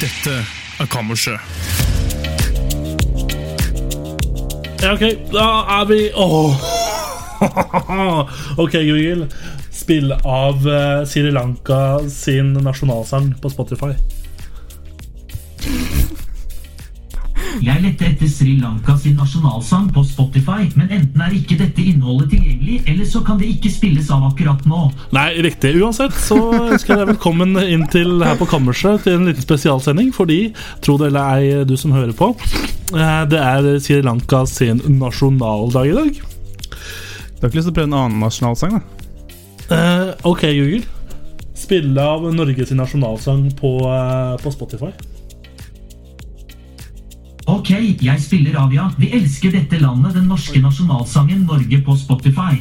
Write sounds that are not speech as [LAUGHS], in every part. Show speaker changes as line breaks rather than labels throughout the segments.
Dette er Kammerset.
Ja, ok, da er vi Åh! [LAUGHS] Ok, Google. Spill av eh, Sri Lanka sin nasjonalsang på Spotify.
Jeg lette etter Sri Lanka sin nasjonalsang på Spotify, men enten er ikke dette innholdet tilgjengelig, eller så kan det ikke spilles av akkurat nå.
Nei, riktig. Uansett så ønsker jeg deg velkommen inn til her på kammerset til en liten spesialsending, fordi, tro det eller ei, du som hører på, eh, det er Sri Lanka sin nasjonaldag i dag.
Du har ikke lyst til å prøve en annen nasjonalsang, da?
Eh, ok, Google. Spille av Norges nasjonalsang på, eh, på Spotify.
Ok, jeg spiller av, ja. Vi elsker dette landet, den norske nasjonalsangen Norge på Spotify.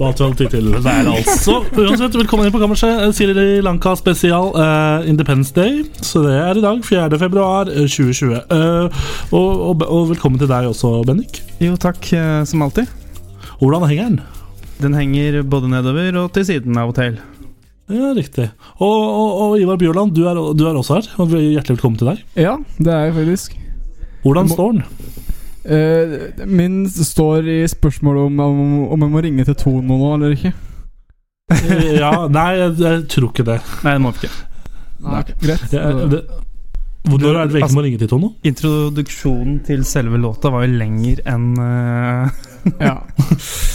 Da tror jeg tid til hver, altså. Uansett, velkommen inn på kammerset. Eh, Sri Lanka spesial eh, Independence Day. Så det er i dag, 4. februar eh, 2020. Eh, og, og, og velkommen til deg også, Bendik.
Jo takk, eh, som alltid.
Hvordan henger den?
Den henger både nedover og til siden av hotell.
Ja, riktig. Og, og, og Ivar Bjørland, du er, du er også her. og Hjertelig velkommen til deg.
Ja, det er jeg faktisk.
Hvordan
Må-
står den?
Eh, min står i spørsmålet om, om, om jeg må ringe til Tono nå eller ikke.
Eh, Ja, nei, jeg, jeg tror ikke det.
Nei, det må vi ikke.
Nei, greit.
[LAUGHS] Jeg, det hvor- når er det vi ikke må ringe til Tono?
Introduksjonen til selve låta var jo lenger enn eh,
ja.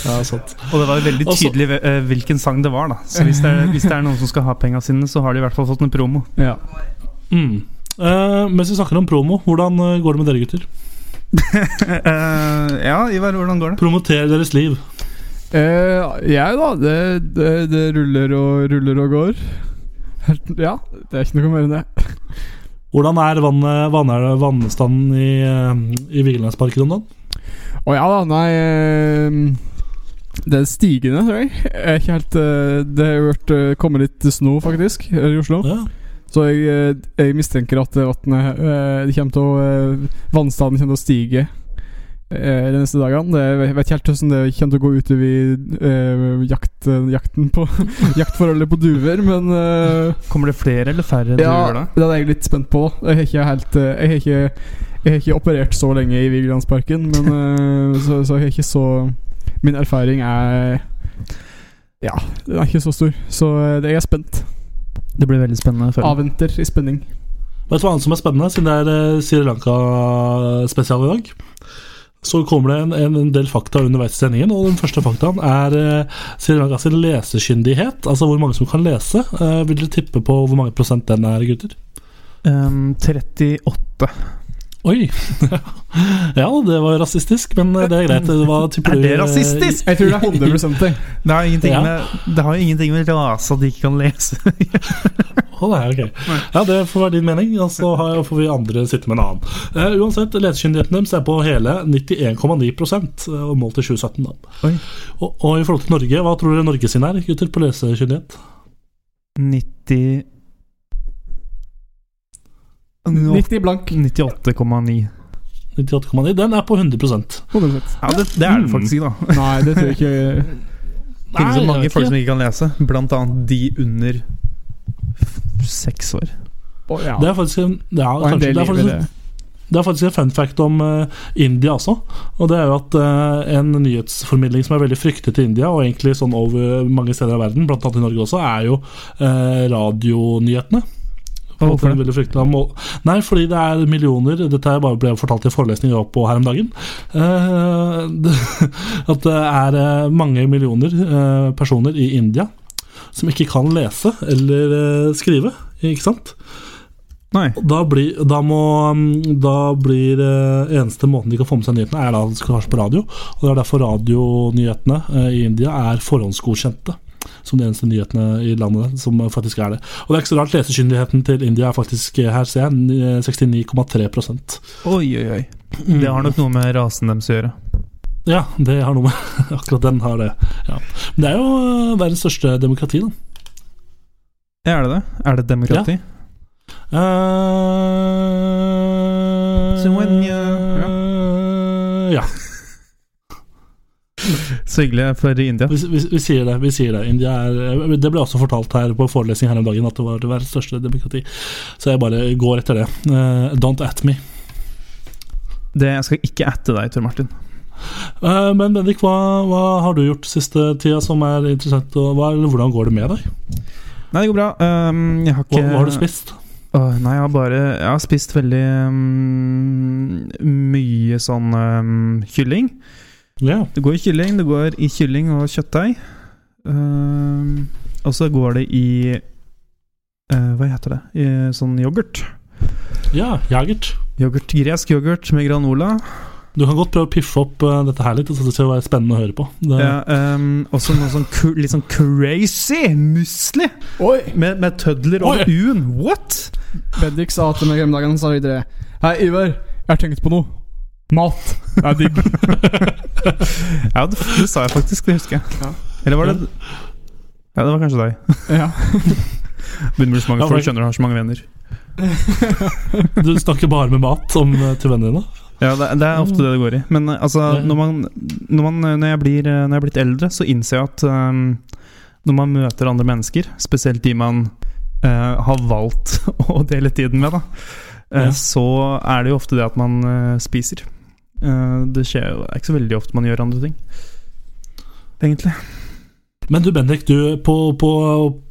Ja, sant.
Og det var jo veldig
Altså-
tydelig eh, hvilken sang det var, da. Så hvis det, er, hvis det er noen som skal ha penga sine, så har de i hvert fall fått en promo.
ja.
Mm. Eh, mens vi snakker om promo, hvordan eh, går det med dere gutter?
[LAUGHS] Eh, ja, Ivar, hvordan går det?
Promoter deres liv.
Eh, jeg, da. Det, det, det ruller og ruller og går. Helt, ja, det er ikke noe mer enn det.
Hvordan er vannet, vann, er vannstanden i, eh, i Vigelandsparken om dagen?
Å ja da, nei eh, Det er stigende, tror jeg. jeg er ikke helt, eh, det har vært, eh, kommet litt snø, faktisk, her i Oslo.
Ja.
Så jeg, eh, jeg mistenker at eh, vattnet, eh, det kommer til å, eh, vannstanden kommer til å stige eh, de neste dagene. Det, jeg vet ikke helt hvordan det kommer til å gå utover i eh, jakt, jakten på [LAUGHS] jaktforholdet på duer, men eh,
Kommer det flere eller færre
ja,
duer da?
det er jeg litt spent på. da. Jeg har ikke helt eh, Jeg har ikke, jeg har ikke operert så lenge i Vigelandsparken, men eh, så, så jeg har ikke så Min erfaring er Ja, den er ikke så stor, så eh, jeg er spent.
Det blir veldig spennende. å følge.
Avventer i spenning.
Vet du hva annet som er spennende, siden det er eh, Sri Lanka-spesial i dag? Så kommer det en, en, en del fakta underveis i sendingen, og den første faktaen er eh, Sri Lankas lesekyndighet. Altså hvor mange som kan lese. Eh, vil dere tippe på hvor mange prosent den er, gutter?
Ehm, 38.
Oi! [LAUGHS] ja, det var rasistisk, men eh, det
[LAUGHS]
er greit. Hva tipper
Er
du?
det
eh,
rasistisk?
Jeg tror det er 100 jeg.
Det har ingenting,
Ja.
med, det har ingenting med rase at de ikke kan lese.
Å, nei, ok. Ja, Det får være din mening, og så har- får vi andre sitte med en annen. Eh, uansett, lesekyndigheten deres er på hele 91,9 eh, og målt til 2017. da.
Oi.
Og, og i forhold til Norge, hva tror dere Norge sin er gutter, på lesekyndighet?
90 Nå-
90 blank.
98,9.
98,9. Den er på 100
100
Ja, det, det er det faktisk ikke, da.
Nei, det tror jeg ikke.
Det finnes jo
jeg
mange
vet
folk
ikke.
som ikke kan lese, blant annet de under f- seks år.
Å, ja.
Det er faktisk en, ja,
Og en
kanskje,
del
det er
liv i
faktisk,
det.
Det er faktisk en fun fact om eh, India også. Og det er jo at eh, En nyhetsformidling som er veldig fryktet i India, og egentlig sånn over mange steder i verden, bl.a. i Norge også, er jo eh, radionyhetene. På en
Hvorfor
måte
det?
veldig fryktet av mål- Nei, fordi det er millioner Dette her bare ble fortalt i forelesning jeg var på her om dagen. eh, [LAUGHS] det- at det er eh, mange millioner eh, personer i India som ikke kan lese eller eh, skrive, ikke sant?
Nei.
Da blir, da må, mm, da blir eh, eneste måten de kan få med seg nyhetene, er da de skal kanskje på radio. Og Det er derfor radionyhetene eh, i India er forhåndsgodkjente. Som de eneste nyhetene i landet som faktisk er det. Og det er ikke så rart. Lesekyndigheten til India er faktisk eh, her, ser jeg, 69,3
Oi, oi, oi. Det har nok noe med rasen deres å gjøre.
Ja, det har noe med [LAUGHS] Akkurat den har det. Ja. Men det er jo eh, verdens største demokrati, da.
Ja, er det det? Er det et demokrati?
Eh,
So when you-
ja.
Så hyggelig for India.
Vi, vi, vi sier det. vi sier Det India er, eh, det ble også fortalt her på forelesning her om dagen at det var det verdens største demokrati. Så jeg bare går etter det. Eh, don't at me.
Det jeg skal ikke atte deg, Tor Martin.
Eh, men Bendik, hva, hva har du gjort siste tida som er interessant? Og hva, eller hvordan går det med deg?
Nei, det går bra. Ehm, jeg har
Hva,
ikke
hva har du spist?
Åh, nei, jeg har bare Jeg har spist veldig ehm, mye sånn ehm, kylling.
Ja.
Det går i kylling, det går i kylling og kjøttdeig. Ehm, og så går det i eh, Hva heter det? I sånn yoghurt.
ja, jagert.
yoghurt. Gresk yoghurt med granola.
Du kan godt prøve å piffe opp eh, dette her litt. Så det skal være spennende å høre på. Det,
Ja, ehm, og så noe sånn ku- litt sånn crazy musli
Oi!
[LAUGHS]
med, med tødler og
Oi!
un. What?!
Bendik sa til meg i gamle sa videre Hei, Ivar, jeg har tenkt på noe. Mat. Det er digg.
Ja, det, det sa jeg faktisk, det husker jeg.
Ja.
Eller var det Ja, det var kanskje deg.
ja.
Begynner å bli så mange
Ja,
folk,
for-
skjønner du har så mange venner.
Du snakker bare med mat om, eh, til vennene dine.
Ja, det, det er ofte det det går i. Men eh, altså,
Ja.
når, man, når, man, når, jeg blir, eh, når jeg er blitt eldre, så innser jeg at ehm, når man møter andre mennesker, spesielt de man eh, har valgt [LAUGHS] å dele tiden med, da, eh,
Ja.
så er det jo ofte det at man eh, spiser. Eh, det skjer jo det er ikke så veldig ofte man gjør andre ting. Egentlig.
Men du Bendik, du, på, på,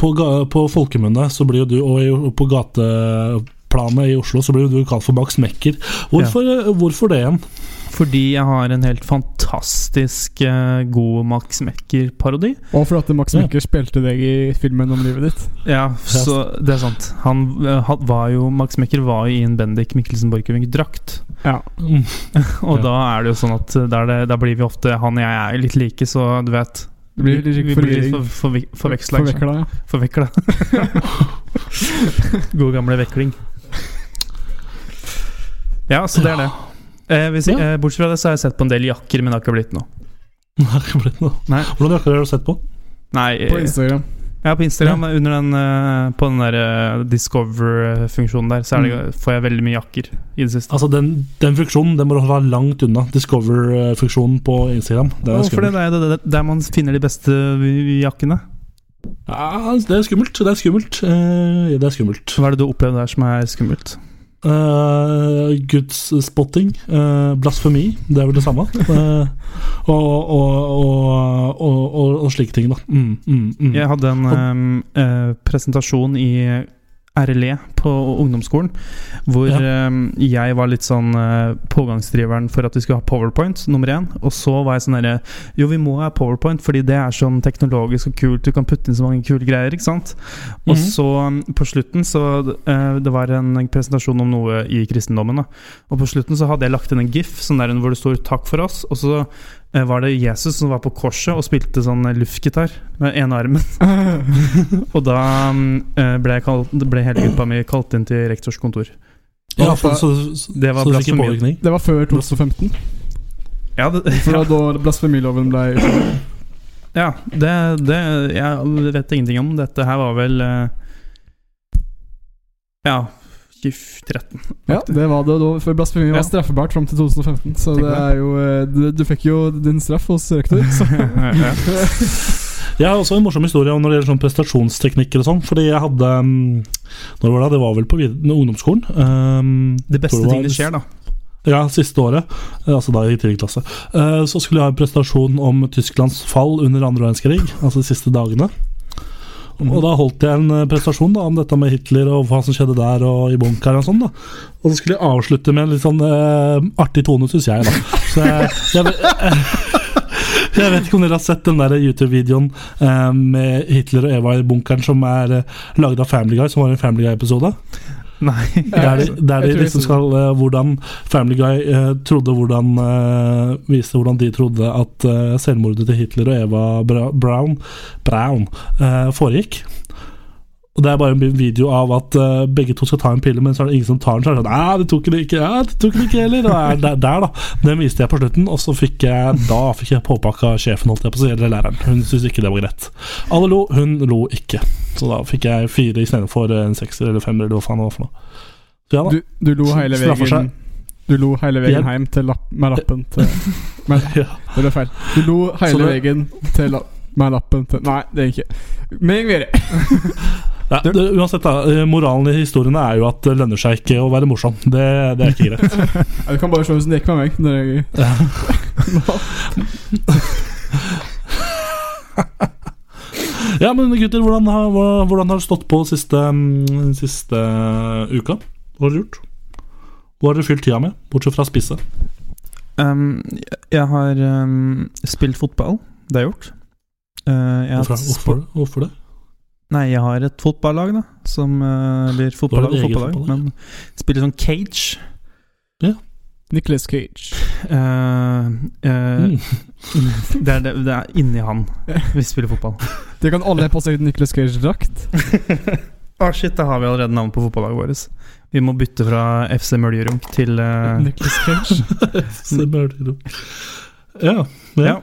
på, ga- på folkemunne så blir jo du, og i- på gateplanet i Oslo så blir jo du kalt for Max Mekker. Hvorfor, eh, hvorfor det igjen? [LAUGHS]
Fordi jeg har en helt fantastisk eh, god Max Mekker-parodi.
Og fordi at Max
Ja.
Mekker spilte deg i filmen om livet ditt.
Ja, så det er sant. Han, eh, han var jo, Max Mekker var jo i en Bendik Mikkelsen Borchgrevink-drakt.
Mm.
[LAUGHS] Og
Ja.
da er det jo sånn at eh, der, det, der blir vi ofte Han og jeg er jo litt like, så du vet
Det blir litt
vi blir litt
forvirring.
for, forvi- forveksla. kanskje.
Forveksla, ja.
Forvekla. God gamle vekling. Ja, så det er det. Eh, hvis,
Ja.
eh, bortsett fra det så har jeg sett på en del jakker, men det har ikke blitt noe.
Det har ikke blitt noe.
Nei.
Hvordan jakker har du sett på?
Nei,
På
eh,
Instagram.
Ja, på Instagram, under den, eh, på den der eh, Discover-funksjonen der, så er det, får jeg veldig mye jakker i det siste.
Altså Den, den funksjonen den må du holde deg langt unna. Discover-funksjonen på Instagram. Den er
Hvorfor det?
skummel.
Det er det- det- der man finner de beste vi- jakkene.
Ja, altså, det er skummelt. Det er skummelt. Eh, det er skummelt.
Hva er det du har opplevd der som er skummelt?
Uh, Gudsspotting, eh, blasfemi, det er vel det samme. Eh, og, og, og, og, og, og slike ting, da. Mm, mm, mm.
Jeg hadde en eh, eh, presentasjon i RLE på ungdomsskolen hvor eh, jeg var litt sånn eh, pågangsdriveren for at vi skulle ha PowerPoint, nummer én. Og så var jeg sånn derre Jo, vi må ha PowerPoint fordi det er sånn teknologisk og kult, du kan putte inn så mange kule greier, ikke sant? Og
Mhm.
så um, på slutten så eh, Det var en presentasjon om noe i kristendommen. Da. Og på slutten så hadde jeg lagt inn en gif sånn der, hvor det står 'takk for oss'. Og så eh, var det Jesus som var på korset og spilte sånn eh, luftgitar med ene armen.
[LAUGHS]
[LAUGHS] og da um, eh, ble, jeg kalt, ble hele gruppa mi kalt inn til rektors kontor.
Ja, for, så, så,
Det var
så du fikk en
blasfemi.
påvirkning.
Det var før 2015.
Ja, det,
For det var da blasfemiloven ble
ja det, det Jeg vet ingenting om dette. Her var vel eh, Ja, 2013.
[LAUGHS]
Ja, det var det da. For blasfemi
Ja.
var straffbart fram til 2015. Så
Tenk
det
på
er jo eh, Du, du fikk jo din straff hos rektor. Så.
Jeg har også en morsom historie om når det gjelder sånn prestasjonsteknikker og sånn. Fordi jeg hadde mm, Når var det? Det var vel på vid- ungdomsskolen. ehm,
Det beste
Tror det var-
ting det skjer, da.
Ja, siste året, eh, altså da i tidlig klasse, eh, så skulle jeg ha en presentasjon om Tysklands fall under andre verdenskrig, altså de siste dagene. Og da holdt jeg en eh, presentasjon da, om dette med Hitler og hva som skjedde der, og i bunkeren og sånn. da. Og så skulle jeg avslutte med en litt sånn eh, artig tone, syns jeg, da. Så jeg, jeg, ve- [LAUGHS] jeg vet ikke om dere har sett den der YouTube-videoen eh, med Hitler og Eva i bunkeren som er uh, laget av Family Guy, som var en Family Guy-episode?
Nei. [LAUGHS]
Der de, der de
Jeg tror
liksom
jeg
skal eh, Hvordan Family Guy eh, trodde hvordan eh, Viste hvordan de trodde at eh, selvmordet til Hitler og Eva Bra Brown, Brown eh, foregikk. Og Det er bare en video av at eh, begge to skal ta en pille, men så er det ingen som tar den. Så er det sånn Nei, det tok den ikke. Ja, det tok den ikke heller. Og er der, der, da. Den viste jeg på slutten, og så fikk jeg Da fikk jeg påpakka sjefen, holdt jeg på å si, eller læreren. Hun syntes ikke det var greit. Alle lo, hun lo ikke. Så da fikk jeg fire istedenfor en sekser eller femmer, eller hva faen det var for noe. Så ja da.
Du, du lo hele
Straffer
veien
seg.
Du lo hele
Hjelp.
veien hjem til lapp, med
[LAUGHS]
lappen til
Ja.
Det ble feil. Du lo
Så
hele
det-
veien til lapp, med lappen til Nei, det er ikke Men videre.
Ja, det, uansett, da. eh, Moralen i historiene er jo at det lønner seg ikke å være morsom. Det, det er ikke greit.
Ja, Du kan bare se hvordan det gikk med meg. Når jeg,
Ja, men gutter, hvordan har, hva- hvordan har det stått på siste, mm, siste eh, uka? Hva har dere gjort? Hva har dere fylt tida med, bortsett fra å spise?
Um, jeg har um, spilt fotball. Det har jeg gjort. Uh, jeg har
Hvorfor,
et
hvorfor, hvorfor det?
Nei, jeg har et fotballag, da. Som uh, blir
har
fotballag
et
og
eget
fotballag.
fotballag.
Men spiller sånn cage.
Nicholas Cage.
Uh, uh,
Mm.
[LAUGHS] det, er, det, det er inni han vi spiller fotball.
Det kan alle ha på seg Nicholas Cage-drakt.
Ah, shit, da har vi allerede navn på fotballaget vårt. Vi må bytte fra FC Møljurunk til uh,
Nicolas
[LAUGHS]
Cage.
Så bare det du- Ja.
Ja.
ja.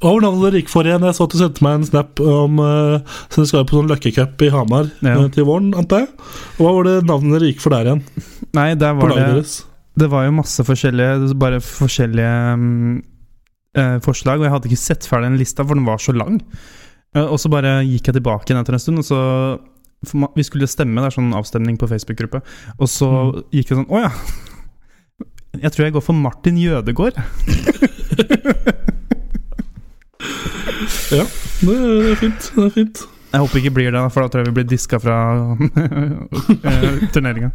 Og hvordan det gikk for igjen? Jeg så at du sendte meg en snap om eh, Så du skal jo på sånn Løkkecup i Hamar
Ja.
eh, til våren, antar jeg? Og hva var det navnet dere gikk for der igjen?
Nei, der
På
var
laget
det
deres?
Det var jo masse forskjellige Bare forskjellige mm, eh, forslag, og jeg hadde ikke sett ferdig den lista, for den var så lang. Eh, og så bare gikk jeg tilbake igjen etter en stund, og så for ma- Vi skulle stemme, det er sånn avstemning på Facebook-gruppe, og så
Mm.
gikk det sånn Å ja! [LAUGHS] Jeg tror jeg går for Martin Jødegård.
Det, det er fint. det er fint
Jeg håper ikke blir det, for da tror jeg vi blir diska fra [LAUGHS] eh, turneringa.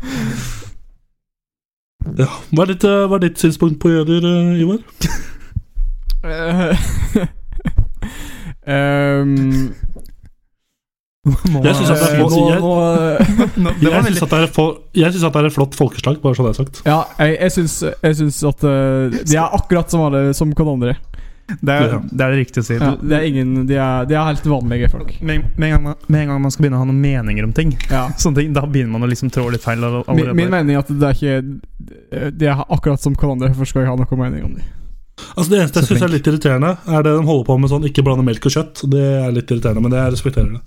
ja. Hva er ditt, eh, hva er ditt synspunkt på jøder, eh, Ivar?
um,
Jeg synes at det er
eh,
på å si-
nå, eh, nå,
Det var
Jeg syns
veldig
at, det er fo- jeg synes at det er et flott folkeslag, bare så det er sagt.
Ja, jeg, jeg, syns, jeg syns at eh, de er akkurat som alle som kan andre.
Det er Eh, det, er det riktige å si.
Ja,
Du-
det er ingen, de, er, de er helt vanlige folk.
Med, med, en gang man, med en gang man skal begynne å ha noen meninger om ting,
[LAUGHS] Ja.
sånne ting da begynner man å liksom trå litt feil. all-
Min,
allerede
min
der.
mening er at det er ikke De er akkurat som hverandre, hvorfor skal jeg ha noen mening om dem?
Altså Det eneste jeg
Så
syns er
flink.
litt irriterende, er det de holder på med sånn ikke blande melk og kjøtt. Det er litt irriterende, men det jeg respekterer det.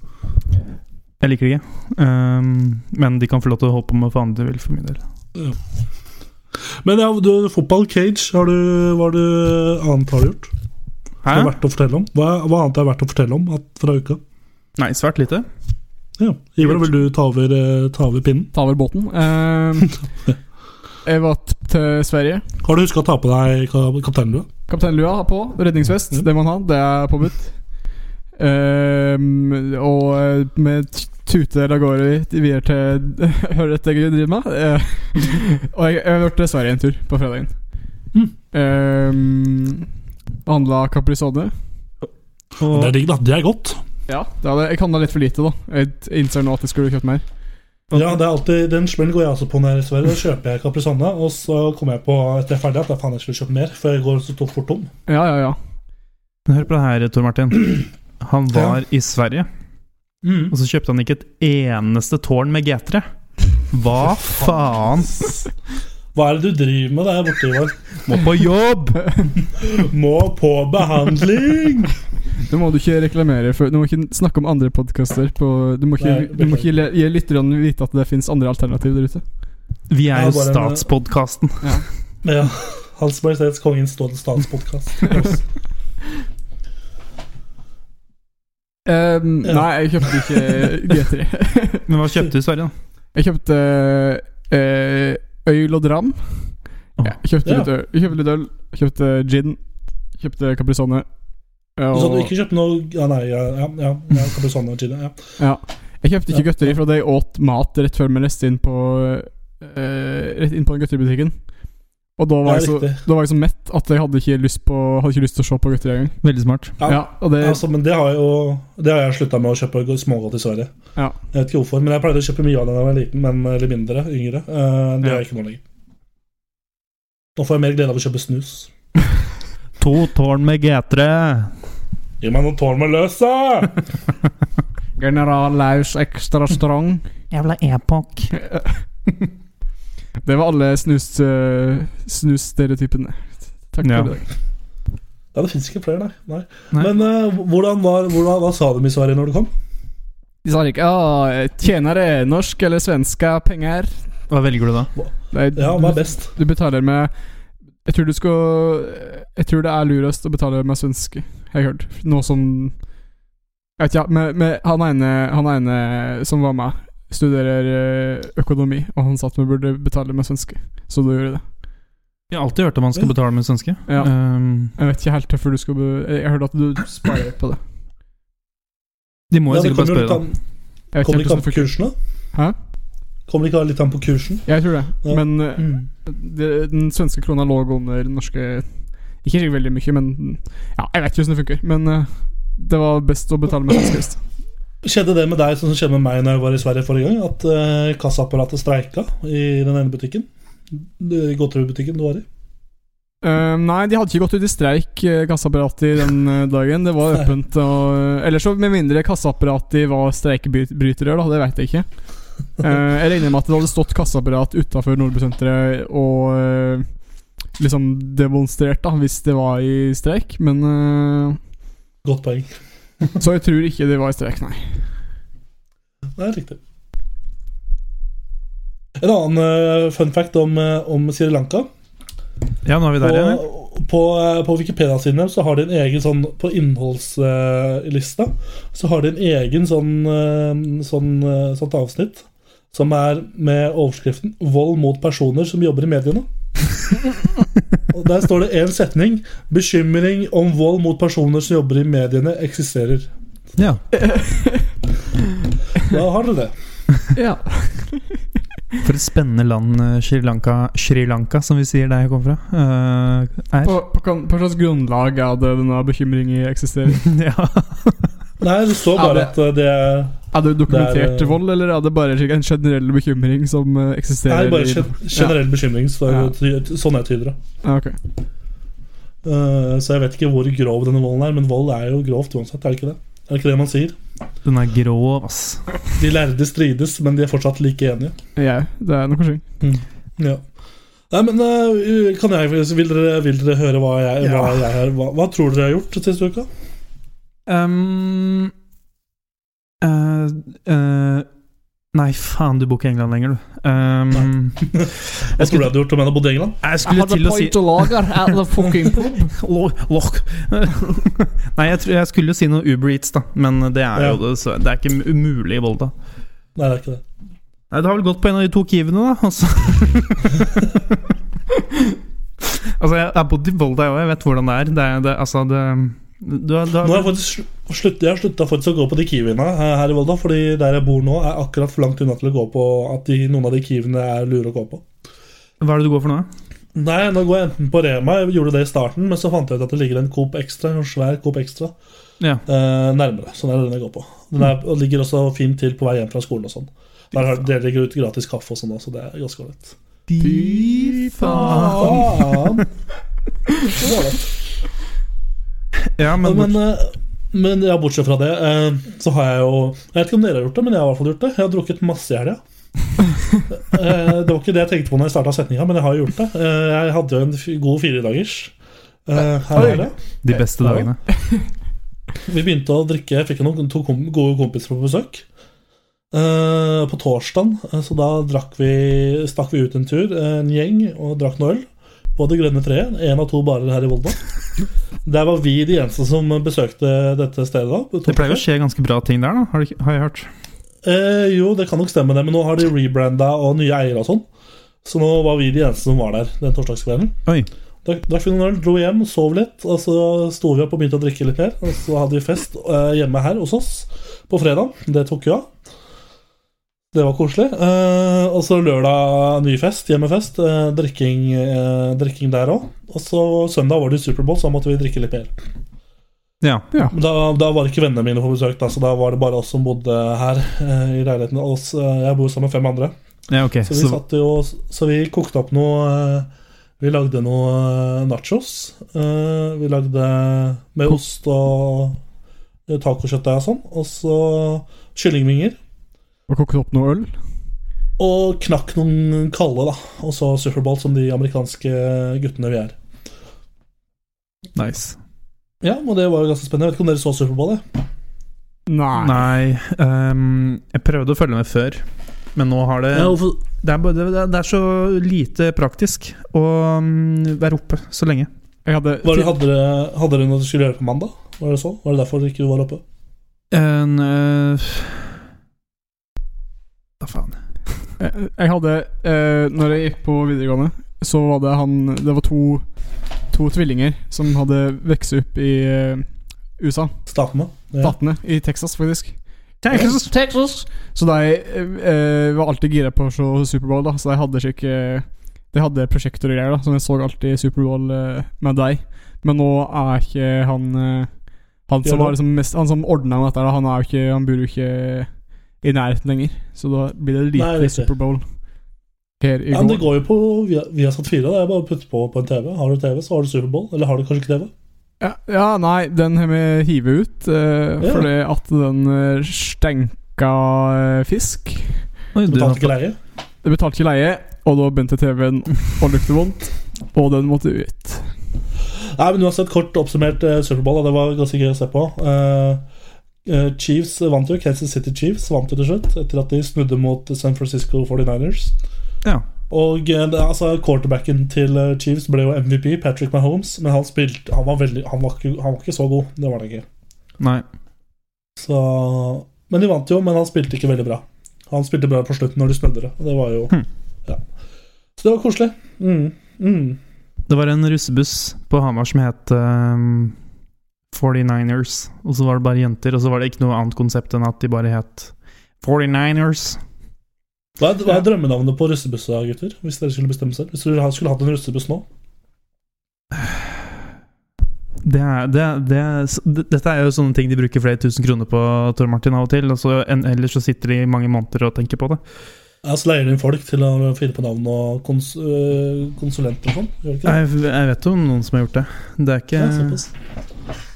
Jeg liker det ikke. Ehm, men de kan få lov til å holde på med hva faen de vil, for min del.
Men ja, du, fotball, cage, har du, hva har du annet har du gjort? Det er verdt å fortelle om Hva, hva annet er verdt å fortelle om at, fra uka?
Nei, svært lite.
Ja. Ivar, vil du ta over, eh, ta over pinnen?
Ta over båten. [LAUGHS] Ehm, jeg var t- til Sverige.
Har du huska å ta på deg ka- kapteinlua?
Kapteinlua har på. Redningsvest, det man har. Det er påbudt. Ehm, og med t- tuter av gårde videre til [LAUGHS] Hører dette jeg driver med? Eh, [LAUGHS] og jeg, jeg har vært til Sverige en tur på fredagen. Hm.
Mm.
Um, Handla Caprisone.
Og
Det er digg, da. Det er godt.
Ja, det hadde, jeg handla litt for lite, da. Jeg innser nå at jeg skulle kjøpt mer.
Ja, det er alltid, Den smellen går jeg også på når jeg er i Sverige. [LAUGHS] Da kjøper jeg Caprisonne, og så kommer jeg på etter jeg er ferdig at jeg faen jeg skulle kjøpt mer, for jeg går så to- fort tom.
Ja, ja, ja.
Men hør på det her, Tor Martin. Han var i Sverige,
Mm.
og så kjøpte han ikke et eneste tårn med G3. Hva faen?
[LAUGHS] Hva er det du driver med der borte, Ivar?
Må på jobb!
Må på behandling!
Nå må du ikke reklamere for Du må ikke snakke om andre podkaster. Du må ikke,
Nei,
du må ikke le- gi lytterne vite at det fins andre alternativ der ute.
Vi er
Ja,
jo
bare en-
statspodkasten.
[LAUGHS] Ja, Hans Majestets Kongens Stående [LAUGHS] Statspodkast.
Ehm,
Ja.
Nei, jeg kjøpte
[LAUGHS]
ikke G3.
Men hva kjøpte du i Sverige, da?
Jeg kjøpte eh, øl og dram.
Åh.
Jeg kjøpte,
Ja.
litt øl, jeg kjøpte litt øl, kjøpte gin, kjøpte Caprisone.
Du sa du
Og,
ikke kjøpte noe Ja, nei, ja, ja, ja, ja Caprisonne og chili. Ja.
ja. Jeg kjøpte ikke
Ja.
godteri, for jeg åt mat rett før vi reiste inn på eh, Rett inn på den godteributikken. Og da var,
Ja,
jeg så,
riktig.
da var jeg så mett at jeg hadde ikke lyst, på, hadde ikke lyst til å se på gutter engang.
Veldig smart.
Ja.
Ja.
Ja, og det-
Altså, men det har jeg jo Det har jeg slutta med å kjøpe smågodt i Sverige.
Ja.
Jeg vet ikke hvorfor, men jeg pleide å kjøpe mye av det da jeg var liten, men eller mindre, yngre. Eh, det gjør jeg ikke nå lenger. Nå får jeg mer glede av å kjøpe snus.
To tårn med G3.
Gi meg noen tårn med løs, da!
[LAUGHS]
General Laus Extra Strong. [LAUGHS]
Jævla epoch.
Det var alle snus, øh, snusstereotypene. Takk
Ja.
for i dag.
Ja, det fins ikke flere, nei. nei.
Nei.
Men eh, hvordan var, hvordan, hva sa de i Sverige når du kom?
De sa ikke «Ah, 'Tjener det norsk eller svenske penger?'
Hva velger du da?
Nei,
Ja, hva er best?
Du betaler med Jeg tror du skal Jeg tror det er lurest å betale med svenske, har jeg hørt. Noe som Jeg vet ikke, men, men han, ene, han ene som var med, studerer eh, økonomi, og han sa at vi burde betale med svenske, så da gjorde jeg det.
Jeg har alltid hørt at man skal betale med svenske.
Ja.
Ehm,
Jeg vet ikke helt hvorfor du skal be, Jeg hørte at du sparer på det.
de må jo
Ja, det
sikkert bare spørre,
kommer jo litt
da.
an-
Jeg, vet
Kommer det ikke
ikke helt
an på
hvordan det
kursene?
Hæ?
Kommer det ikke litt an på kursen?
funker. jeg tror det,
Ja.
men eh,
Mm.
det, den svenske krona lå under den norske Ikke sikkert veldig mye, men Ja, jeg vet ikke hvordan det funker, men eh, det var best å betale med svenske. visst.
Skjedde det med deg sånn som skjedde med meg når jeg var i Sverige forrige gang? At eh, kassaapparatet streika i den ene butikken? Du- I godteributikken du var i?
Eh, nei, de hadde ikke gått ut i streik, eh, kassaapparatet, den eh, dagen. Det
[LAUGHS]
var
Nei.
åpent. Og, eller så med mindre kassaapparatet var streikebrytere, da. Det veit jeg ikke. Eh, jeg regner med at det hadde stått kassaapparat utafor Nordbysenteret og eh, liksom demonstrert, da, hvis det var i streik. Men eh,
Godt poeng.
Så jeg tror ikke det var i streik,
[LAUGHS]
nei.
Det er riktig. En annen eh, fun fact om, eh, om Sri Lanka.
Ja, nå er vi
På,
der igjen. ja.
på, eh, på Wikipedia sine så har de en egen sånn På innholdslista så har de en egen sånn, eh, sånn eh, sånt avsnitt som er med overskriften 'Vold mot personer som jobber i
[LAUGHS]
mediene'. Og Der står det én setning 'Bekymring om vold mot personer som jobber i mediene eksisterer'.
Ja.
Da har dere det.
Ja.
For et spennende land eh, Sri Lanka, Sri Lanka som vi sier der jeg kommer fra, eh, er.
På, på, kan- på slags grunnlag er det denne bekymringen eksisterer?
[LAUGHS] ja.
Nei, det står
Ja,
bare
det-
at eh, det er
Er det dokumentert
Det er, eh,
vold, eller er det bare slik en generell bekymring som eh,
Nei,
eksisterer?
bare
i-
gen- generell bekymring. Så
Ja.
ty- sånn jeg tyder det.
Ja, Ah, ok.
Eh, så jeg vet ikke hvor grov denne volden er, men vold er jo grovt uansett. Er det ikke det? Er det ikke det man sier?
Den er grov, ass.
De lærde strides, men de er fortsatt like enige.
Ja, det er noe slik.
Ja. Nei, men eh, kan jeg, vil, dere, vil dere høre hva jeg, hva,
Ja.
jeg har, hva, hva tror dere jeg har gjort siste uka?
Ehm, eh, eh, nei, faen, du bor ikke i England lenger, du. Ehm, [LAUGHS]
Hva tror du jeg hadde gjort om jeg hadde bodd i England?
jeg skulle til å si
og lager at the fucking pub.
Lo- lokk. [LAUGHS] Nei, jeg, tror, jeg skulle jo si noe Uber Eats, da. Men det er jo
Ja.
det, så det er ikke umulig i Volda.
Nei, det er ikke det.
Nei, det har vel gått på en av de to Kiwene, da. Altså, [LAUGHS] altså jeg jeg har bodd i Volda, jeg òg. Jeg vet hvordan det er. Det, er- det, altså, det du, har- du,
Nå har
har-
jeg faktisk slu- slutt, jeg har slutta faktisk å gå på de kiwiene eh, her i Volda, fordi der jeg bor nå, er akkurat for langt unna til å gå på at de, noen av de kiwiene er lure å gå på.
Hva er det du går for nå? da?
Nei, nå går jeg enten på Rema. Jeg gjorde det i starten, men så fant jeg ut at det ligger en Coop Extra, en svær Coop Extra
Ja.
eh, nærmere. Så det er den jeg går på. Den er, og ligger også fint til på vei hjem fra skolen og sånn. Der har, det ligger ut gratis kaffe og sånn, også, så det er ganske ålreit.
[LAUGHS] Fy faen.
Faen! Det er ålreit.
Ja, men,
[LAUGHS] Men, eh, men ja, bortsett fra det, eh, så har jeg jo Jeg vet ikke om dere har gjort det, men jeg har i hvert fall gjort det. Jeg har drukket masse i helga. Eh, det var ikke det jeg tenkte på når jeg starta setninga, men jeg har gjort det. Eh, jeg hadde jo en f god firedagers eh, her i helga.
de beste
Ja.
dagene.
Vi begynte å drikke, jeg fikk noen to kom gode kompiser på besøk. Eh, på torsdagen, eh, så da drakk vi, stakk vi ut en tur, eh, en gjeng, og drakk noe øl. På Det grønne treet, én av to barer her i Volda. Der var vi de eneste som besøkte dette stedet. da på
Det pleier jo å
torsdag.
skje ganske bra ting der, da, har, du ikke- har jeg hørt.
Eh, jo, det kan nok stemme, det, men nå har de rebranda og nye eiere og sånn. Så nå var vi de eneste som var der den torsdagskvelden.
Oi.
Da da fikk vi noen øl, dro hjem, sov litt, og så sto vi opp og begynte å drikke litt mer. Og så hadde vi fest eh, hjemme her hos oss på fredag. Det tok jo av. Det var koselig. Eh, og så lørdag ny fest, hjemmefest. eh, drikking, eh, drikking der òg. Og så søndag var det Superbowl, så da måtte vi drikke litt mer.
Ja.
Men Da, da var ikke vennene mine på besøk, da, så da var det bare oss som bodde her. eh, i leiligheten Og oss, eh, Jeg bor sammen med fem andre.
ja, ok.
Så vi,
Så,
satt jo, så vi kokte opp noe eh, Vi lagde noe eh, nachos. eh, Vi lagde med ost og tacokjøttdeig og sånn. Og så kyllingvinger.
Og kokte opp noe øl.
Og knakk noen kalde, da. Og så Superbowl, som de amerikanske guttene vi er.
nice.
Ja, og det var jo ganske spennende. Jeg vet ikke om dere så Superbowl? jeg.
Nei.
Nei ehm, Jeg prøvde å følge med før, men nå har det
Ja, hvorfor-
Det er, bare- det er, det er så lite praktisk å mm, være oppe så lenge.
Jeg hadde
var det, hadde, dere, hadde dere noe dere skulle gjøre på mandag? Var det, så? var det derfor dere ikke var oppe?
En øh, Da faen.
Jeg jeg hadde eh, Når jeg gikk på videregående, så var det han Det var to, to tvillinger som hadde vokst opp i eh, USA.
Statene? Ja.
Statene. I Texas, faktisk. [LAUGHS]
Texas,
Så de eh, var alltid gira på å se Superbowl, da. Så de hadde slik eh, De hadde prosjekter og greier, da, som jeg så alltid Superbowl eh, med deg. Men nå er ikke han eh, Han som,
Ja, da.
var liksom mest, han som ordna med dette, da, han, er jo ikke, han bor jo ikke i nærheten lenger. Så da blir
Nei,
det lite
riktig.
Superbowl her i
Ja, men det
går.
går jo på via, via Sat4. Det er bare å putte på på en TV. Har du TV, så har du Superbowl. Eller har du kanskje ikke TV?
Ja, ja, nei, den har vi hivet ut eh,
Ja.
fordi at den eh, stenka eh, fisk.
Oi, du,
Betalte ikke leie.
Det betalte ikke leie, og da begynte TV-en å lukte vondt, og den måtte ut.
Nei, men uansett, kort oppsummert eh, Superbowl. da. Det var ganske gøy å se på. Eh, eh, Chiefs vant jo. Kansas City Chiefs vant jo til slutt, etter at de snudde mot San Francisco 49ers.
ja.
Og eh, det, altså, quarterbacken til eh, Chiefs ble jo MVP, Patrick Mahomes, men han spilte Han var, veldig, han var, ikke, han var ikke så god. Det var han ikke.
Nei.
Så, men de vant jo, men han spilte ikke veldig bra. Han spilte bra på slutten når de snudde det. og Det var jo
Hm.
ja. Så det var koselig. Mm. Mm.
Det var en russebuss på Hamar som het ehm, 49ers. Og så var det bare jenter, og så var det ikke noe annet konsept enn at de bare het 49ers.
Hva er, hva er drømmenavnet på russebusser, gutter? Hvis dere skulle bestemme selv? Hvis dere ha- skulle hatt en russebuss nå?
Det er, det, er- det, er- s- d- dette er jo sånne ting de bruker flere tusen kroner på, Tor Martin, av og til. Og så en, ellers så sitter de i mange måneder og tenker på det.
Ja, så leier de inn folk til å finne på navn og kons øh, konsulenter og sånn? Gjør de ikke det?
Jeg, jeg vet om noen som har gjort det. Det er
Ja,
ikke
såpass.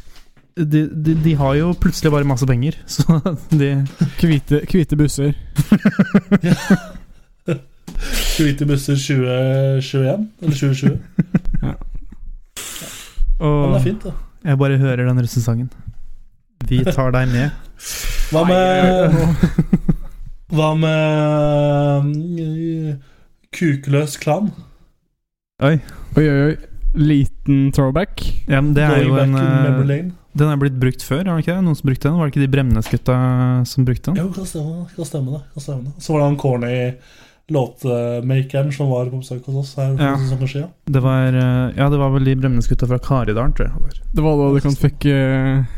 de, de, de har jo plutselig bare masse penger, [LAUGHS] så de
Hvite, hvite busser.
Hvite busser 2021? Eller 2020? Ja, men det
Og
er fint, det.
jeg bare hører den russesangen. Vi tar deg med.
[LAUGHS] Hva med Hva med øh, Kukløs klan?
Oi.
Oi, oi, oi. Liten throwback.
Ja, men det er
Going
jo en
back in
eh,
memory lane.
Den er blitt brukt før, er den ikke det? Noen som brukte den? Var det ikke de Bremnes-gutta som brukte den?
Jo, kan stemme, det, kan stemme det. kan stemme det Så var det han corny låtmakeren som var på besøk hos oss her. for
Ja.
noen sesonger siden.
Det var, eh, ja, det var vel de Bremnes-gutta fra Karidalen, tror jeg. det var.
Det var da de kan fikk eh,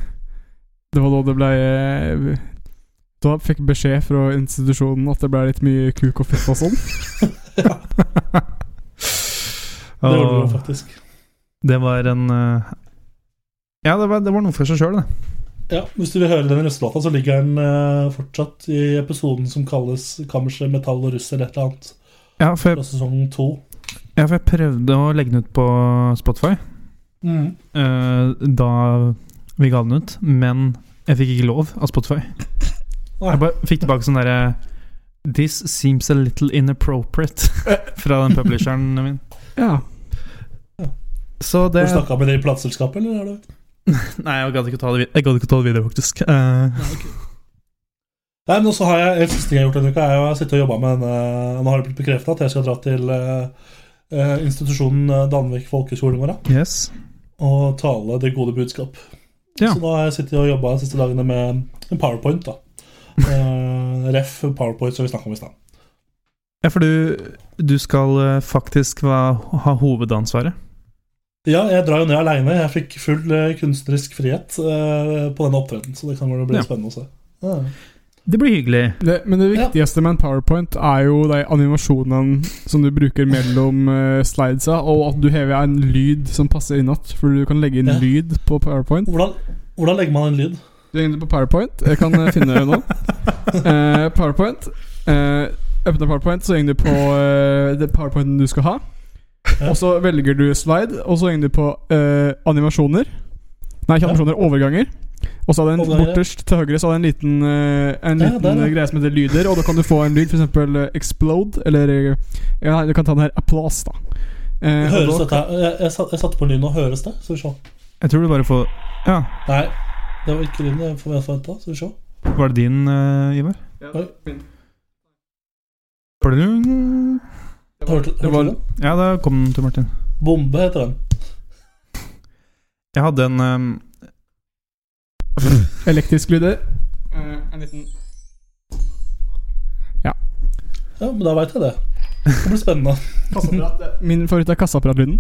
Det var da det ble eh, Da fikk beskjed fra institusjonen at det ble litt mye kuk og fitt og sånn.
Det gjorde vi jo
Og
faktisk.
det var en eh, Ja, det var, det var noe for seg sjøl, det.
Ja, Hvis du vil høre den russelåta, så ligger den eh, fortsatt i episoden som kalles Kammerset metall og russ eller et eller annet.
Ja for, jeg,
Fra sesong to.
ja, for jeg prøvde å legge den ut på Spotify
Mm.
eh, da vi ga den ut, men jeg fikk ikke lov av Spotify.
Nei.
Jeg bare fikk tilbake sånn derre This seems a little inappropriate [LAUGHS] fra den publisheren min.
Ja.
Så
Har
det
du snakka med det i plateselskapet, eller? er det?
[LAUGHS] Nei, jeg gadd ikke å ta det, vid- jeg gadd ikke å ta det videre, faktisk. Eh,
Nei, men også har jeg, En siste ting jeg har gjort denne uka, er jo jeg har sittet og jobba med en Nå har det blitt bekrefta at jeg skal dra til eh, eh, institusjonen eh, Danvik folkehøgskole i morgen.
yes.
og tale det gode budskap.
Ja.
Så da har jeg sittet og jobba de siste dagene med en powerpoint. da Eh, Ref powerpoint som vi snakka om i stad.
Ja, for du, du skal eh, faktisk va, ha hovedansvaret.
Ja, jeg drar jo ned aleine. Jeg fikk full eh, kunstnerisk frihet eh, på denne opptreden. Så det kan vel bli
Ja.
spennende å se. Ja.
Det blir hyggelig.
Det, men det viktigste med en powerpoint er jo de animasjonene som du bruker mellom eh, slidesa, og at du hever en lyd som passer innatt. For du kan legge inn
Ja.
lyd på powerpoint.
Hvordan, hvordan legger man en lyd?
Du er inne på powerpoint. Jeg kan eh, finne det nå. Eh, powerpoint. Eh, Åpne powerpoint, så går du på eh, det powerpointen du skal ha. Og så velger du slide, og så går du på eh, animasjoner. Nei, ikke
Ja.
animasjoner, overganger. Og så er det en
Overganger, ja.
borterst til høyre så er det en liten, eh, en
Ja,
liten
der, ja.
eh, greie som heter lyder, og da kan du få en lyd, f.eks. explode, eller eh, ja, nei, Du kan ta den her applause, da. Eh, og
Høres
da-
dette her? Jeg, jeg, satt- jeg satte på lyden, og høres det? Skal vi se.
Jeg tror du bare får Ja,
Nei, det var ikke lyden jeg forventa. Skal vi se.
var det din, eh, Ivar?
Ja, min.
Plung.
Hørte,
Det
hørte
var-
du den?
Ja, da kom den til Martin.
Bombe heter den.
Jeg hadde en ehm,
Elektrisk lyder. Eh, en liten
Ja, men da veit jeg det. Det blir spennende.
Kassaapparat. det- Min favoritt er kassaapparatlyden.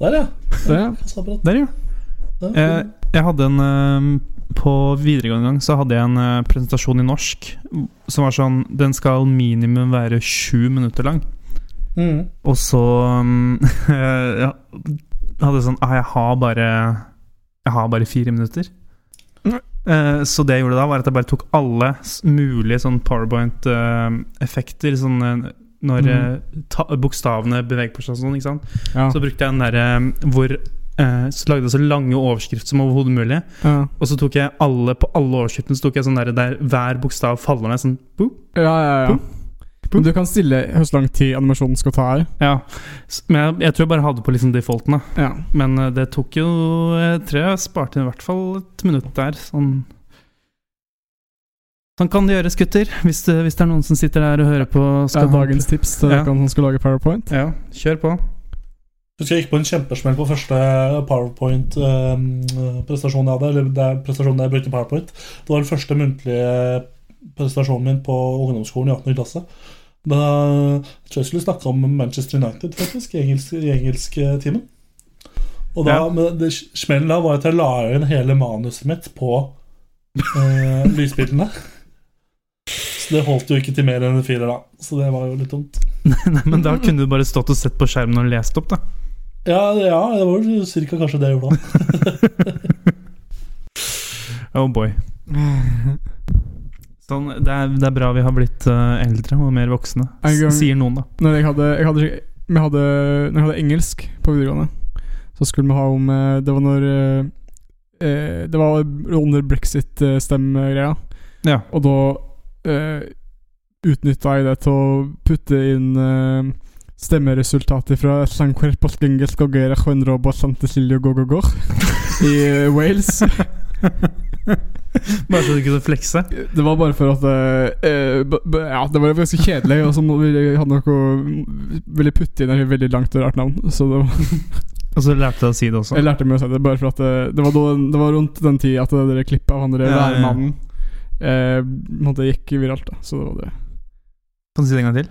Der, ja.
Det-
Kassaapparat.
Der, ja.
Der.
Eh, jeg hadde en eh, På videregående gang så hadde jeg en eh, presentasjon i norsk som var sånn Den skal minimum være sju minutter lang.
Mm.
Og så um, [LAUGHS] jeg hadde sånn ah, jeg har bare Jeg har bare fire minutter.
Mm.
Eh, så det jeg gjorde da, var at jeg bare tok alle s- mulige sånn powerpoint-effekter. Sånn eh, når
Mm.
eh, ta, bokstavene beveger på seg og sånn. ikke sant?
Ja.
Så brukte jeg den derre hvor eh, Så lagde jeg så lange overskrifter som overhodet mulig.
ja.
Og så tok jeg alle på alle overskriftene Så tok jeg sånn der, der hver bokstav faller ned. Sånn, boop.
Ja, ja, ja.
Boop.
Men du kan stille hvor lang tid animasjonen skal ta her.
ja. S- Men jeg, jeg tror jeg bare hadde på liksom defaulten. da
Ja.
Men eh, det tok jo Jeg tror jeg sparte inn i hvert fall et minutt der. Sånn Sånn kan det gjøres, gutter. Hvis det, hvis det er noen som sitter der og hører på.
Det er
ha-
dagens tips til
Ja.
dere som skal lage powerpoint.
Ja, kjør på.
Husker jeg gikk på en kjempesmell på første PowerPoint-prestasjonen jeg hadde. Eller der prestasjonen jeg brukte PowerPoint. Det var den første muntlige prestasjonen min på ungdomsskolen i 18. klasse. Da jeg tror jeg skulle snakke om Manchester United faktisk, i engelsk- i engelsktimen. Og da,
Ja.
men det smellen da var at jeg la inn hele manuset mitt på eh, lysbildene. Så det holdt jo ikke til mer enn en firer, da. Så det var jo litt dumt.
Nei, men da kunne du bare stått og sett på skjermen og lest opp, da.
Ja, ja, det var vel cirka kanskje det jeg gjorde da.
Oh boy. Sånn, det, er, det er bra vi har blitt eh, eldre og mer voksne,
En gang-
s- sier noen, da.
Når jeg hadde, jeg hadde, vi hadde, når jeg hadde engelsk på videregående, så skulle vi ha om eh, Det var når eh, eh, Det var under brexit-stemmegreia,
Ja.
og da uh, utnytta jeg det til å putte inn eh, stemmeresultatet fra Sanquer Postlinges Gogera Huenrobo Santesilio Gogogor i eh, Wales.
Bare så du kunne flekse.
Det var bare for at eh, eh, b- b- Ja, det var ganske kjedelig. Og så må- ville jeg hadde noe å- ville putte inn et veldig langt og rart navn. Så det var,
Og så lærte jeg å si det også.
jeg lærte meg å si det bare for at eh, det var, da, det var rundt den tida at det der klippet av han der
Ja, ja, ja.
værmannen eh, på en måte gikk viralt. da Så det var det.
Kan du si det en gang til?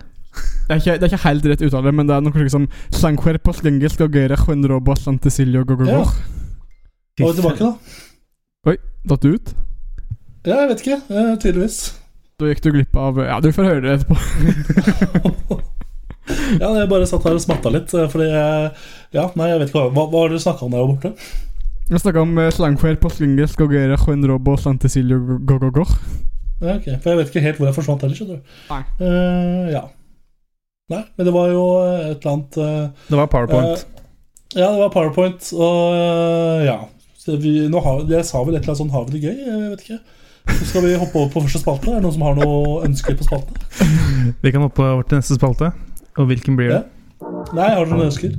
Det er, ikke, det er ikke helt rett uttale, men det er noe liksom, slikt som Sanquerpos lengels gagera huenrobo santesilio gogogor.
Og tilbake, da.
Datt det ut?
Ja, jeg vet ikke. eh, Tydeligvis. [LAUGHS]
Da gikk du glipp av Ja, du får høre det etterpå.
ja, jeg bare satt her og smatta litt, eh, fordi jeg Ja, nei, jeg vet ikke hva Hva, hva har dere snakka om der borte?
Vi snakka om eh, slangquerpos lengels gogera huenrobo santesilio gogogor.
Ja, ok, For jeg vet ikke helt hvor jeg forsvant heller, skjønner du.
Nei.
Eh, ja. Nei, men det var jo eh, et eller annet eh,
Det var PowerPoint.
eh, ja, det var PowerPoint, og eh, ja. Så vi, nå har, jeg sa vel et eller annet sånn 'har vi det gøy'? Jeg vet ikke. Så skal vi hoppe over på første spalte? Er det noen som har noe ønsker på spalten?
Vi kan hoppe over til neste spalte. Og hvilken blir det?
Nei, har dere noen ønsker?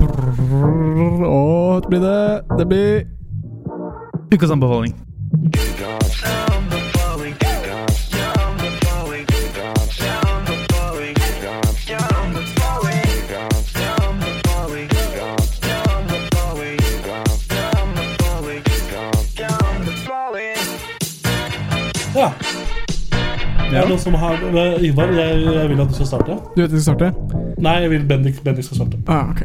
Brrrr, Og det blir det Det blir
Ukas anbefaling.
Ja. Er det noen som har eh, Ivar, jeg, jeg vil at du skal starte.
Du vet vi skal starte?
Nei, jeg vil Bendik, Bendik skal starte.
Ah, ok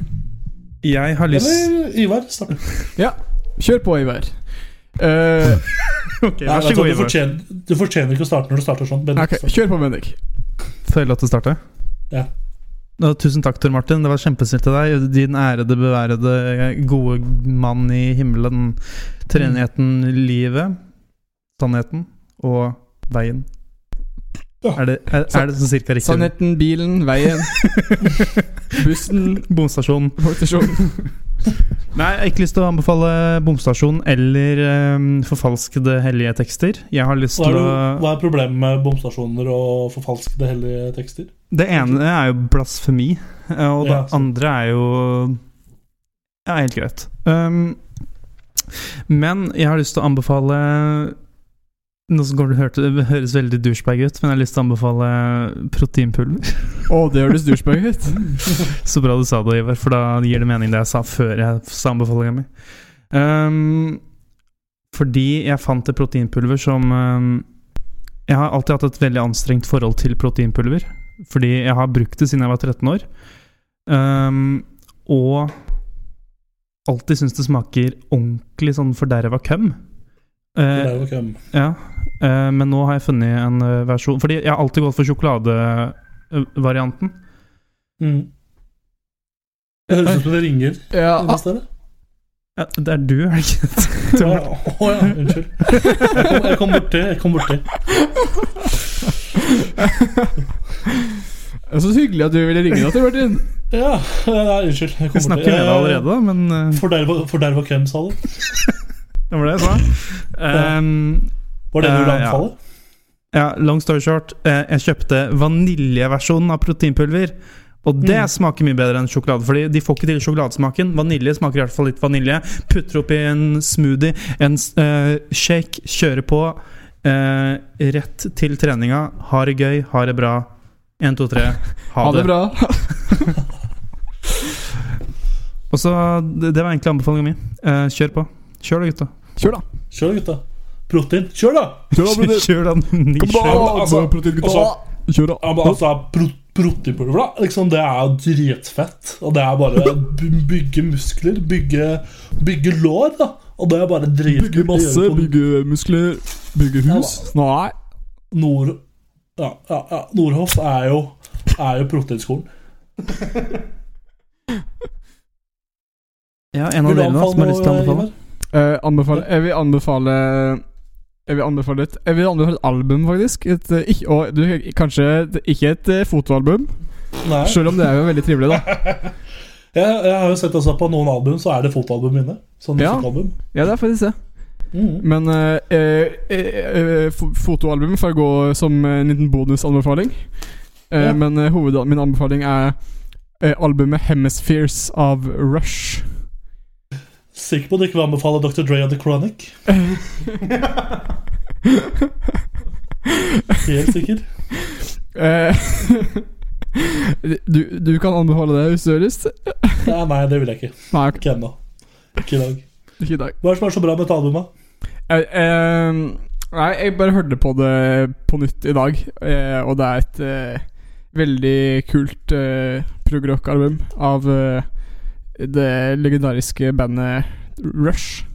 Jeg har lyst
Eller Ivar, starte.
Ja, kjør på, Ivar. Eh,
Ok,
Nei,
Vær
vet
så god,
du, hva, du,
Ivar.
fortjener, du fortjener ikke å starte når du starter sånn. Bendik.
ok, kjør på, Bendik.
Får jeg lov til å starte?
Ja.
Ja, tusen takk, Tor Martin. Det var kjempesnilt av deg. Din ærede, beværede, eh, gode mann i himmelen. Treenigheten, livet, sannheten og veien.
Ja.
Er, det, er, er det sånn cirka riktig?
Sannheten, bilen, [LAUGHS] veien, bussen,
Bomstasjonen.
politistasjonen.
Nei, jeg har ikke lyst til å anbefale bomstasjon eller eh, forfalskede hellige tekster. Jeg har lyst
Hva er,
til å
det- hva er problemet med bomstasjoner og forfalskede hellige tekster?
Det ene er jo blasfemi, eh, og det
Ja, sant.
andre er jo Ja, helt greit. Um, men jeg har lyst til å anbefale Noe som kommer til å høre- det høres veldig douchebag ut, men jeg har lyst til å anbefale proteinpulver.
Å, det høres douchebag ut.
Så bra du sa det, Ivar, for da gir det mening det jeg sa før jeg sa anbefalinga mi. Um, fordi jeg fant et proteinpulver som um, Jeg har alltid hatt et veldig anstrengt forhold til proteinpulver. Fordi jeg har brukt det siden jeg var 13 år. Um, og alltid syns det smaker ordentlig sånn forderva køm.
Det
Uh,
er jo ikke, um,
ja, eh, men nå har jeg funnet en eh, versjon Fordi jeg har alltid gått for sjokoladevarianten.
mm. Det høres ut som det ringer.
Ja,
inne i stedet.
[LAUGHS] Ja, det er du, er det ikke?
Å ja. Å ja, unnskyld. Jeg kom, jeg kom borti. Jeg kom borti.
Det er så hyggelig at du ville ringe deg til Martin.
Ja, nei, unnskyld. Jeg kom
Vi snakker med deg allerede, da, men eh,
Forderva, forderva hvem, sa du?
det var det
[LAUGHS]
jeg sa. Ehm,
Var det det du ville
Eh, ja.
anbefale?
ja, long story short. eh, jeg kjøpte vaniljeversjonen av proteinpulver. Og det
Mm.
smaker mye bedre enn sjokolade. Fordi de får ikke til sjokoladesmaken. Vanilje smaker i hvert fall litt vanilje. Putter oppi en smoothie, en eh, shake, kjører på. eh, rett til treninga. Ha det gøy, ha det bra. Én, to, tre.
Ha det bra.
Og så, det, det var egentlig anbefalinga mi. Eh, kjør på. Kjør da, gutta.
Kjør, da.
Kjør, gutta. Protein. Kjør, da!
[LAUGHS] Kjør da, nisje.
da, altså.
Kjør, da.
Ja, men altså, pro proteinpulver, da. Liksom, det er jo dritfett. Og det er bare by- bygge muskler, bygge, bygge lår, da. Og det er bare dritkult. sånn Det
Bygge masse,
gjør jo
bygge muskler, bygge hus. Nei.
Nord... Ja, ja, ja. Nordhoff er jo, er jo proteinskolen.
Ja, en av
Vil du
dere nå som har lyst til å
anbefale noe,
anbefale?
Eh, anbefale, jeg vil anbefale jeg vil anbefale, et, jeg vil anbefale et album, faktisk. Et, eh, ikke, og du, kanskje et- ikke et eh, fotoalbum,
Ivar? Nei.
selv om det er jo veldig trivelig, da.
Jeg, jeg har jo sett altså, på noen album så er det fotoalbum inne. Sånn
Ja.
musikkalbum.
Ja, det er faktisk det.
Mhm.
Men eh, eh, eh, fo- fotoalbum får gå som eh, en liten bonusanbefaling. Eh,
Ja.
Men eh, hoved, min anbefaling er eh, albumet 'Hemispheres' av Rush.
Sikker på at du ikke vil anbefale Dr. Dre og The Chronic? Helt sikker.
Eh, [LAUGHS] du, du kan anbefale det hvis du har lyst.
[LAUGHS] Nei, nei, det vil jeg ikke.
Nei, ok,
Ikke ennå. Ikke i dag.
ikke i dag.
Hva er det som er så bra med dette albumet?
Eh, eh, nei, jeg bare hørte på det på nytt i dag, eh, og det er et eh, veldig kult uh, progrock-album av eh, det legendariske bandet Rush.
Ikke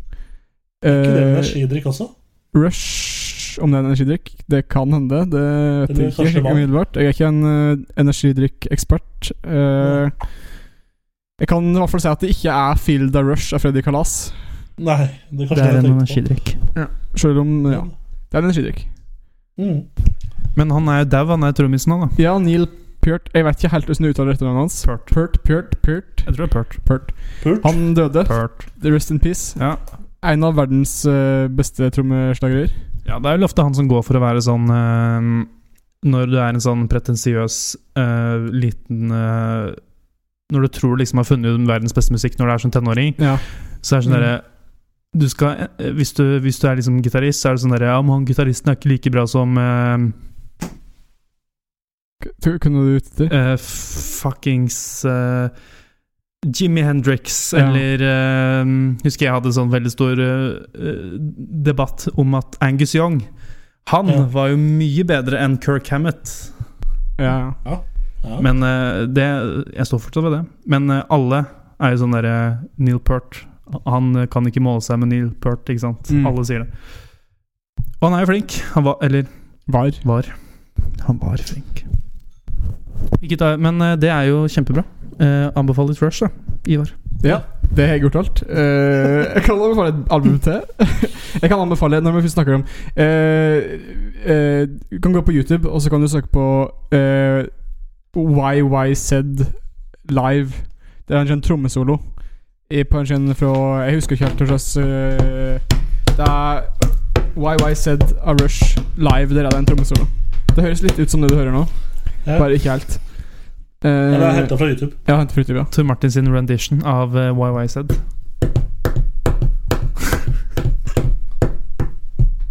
det med
Eh,
energidrikk også?
Rush Om det er en energidrikk? Det kan hende. Det vet
Eller
jeg ikke
kanskje
helt
vann.
umiddelbart. Jeg er ikke en eh, energidrikkekspert. Eh, jeg kan i hvert fall si at det ikke er 'Feel the Rush' av Freddy Kalas.
Nei, det er
Det
kanskje
er en
det jeg tenkte
energidrikk.
Selv om
på.
ja, det er en energidrikk.
Mm.
Men han er jo dau, han er trommisen nå, da.
Ja, Neil Peart Jeg vet ikke helt hvordan du uttaler etternavnet hans.
Pert.
Peart, Peart, Peart,
Jeg tror det er Pert.
Peart.
Pult.
Han døde.
Pert.
Rest in peace.
Ja.
En av verdens eh, beste trommeslagere.
ja, det er jo ofte han som går for å være sånn eh, Når du er en sånn pretensiøs eh, liten eh, Når du tror du liksom har funnet ut verdens beste musikk når du er som tenåring,
Ja.
så er det sånn
Mm.
derre du skal, eh, hvis, du, hvis du er liksom gitarist, så er det sånn derre Ja, men han gitaristen er ikke like bra som eh,
Tror- Kunne du ut etter?
Eh, fuckings eh, Jimi Hendrix,
Ja.
eller eh, Husker jeg hadde sånn veldig stor eh, eh, debatt om at Angus Young Han
Ja.
var jo mye bedre enn Kirk Hammett.
Ja.
Ja.
Men eh, det Jeg står fortsatt ved det. Men eh, alle er jo sånn derre eh, Neil Peart Han eh, kan ikke måle seg med Neil Peart, ikke sant?
Mm.
Alle sier det. Og han er jo flink. Han var Eller
Var.
var. Han var flink. Ikke ta, men eh, det er jo kjempebra. Eh, anbefaler litt Rush, da. Ivar.
Ja, det har jeg gjort alt. Eh, jeg kan anbefale et album til. [LAUGHS] jeg kan anbefale, når vi først snakker om eh, eh, Du kan gå på YouTube, og så kan du søke på eh, YYZ Live. Det er en sånn trommesolo i- på en sånn fra Jeg husker ikke helt hva slags eh, Det er YYZ A Rush Live. Der er det en trommesolo. Det høres litt ut som det du hører nå,
Ja.
bare ikke helt. Eh,
Eller henta fra YouTube.
ja, hent fra YouTube, ja.
Tor Martin sin rendition av eh, YYZ.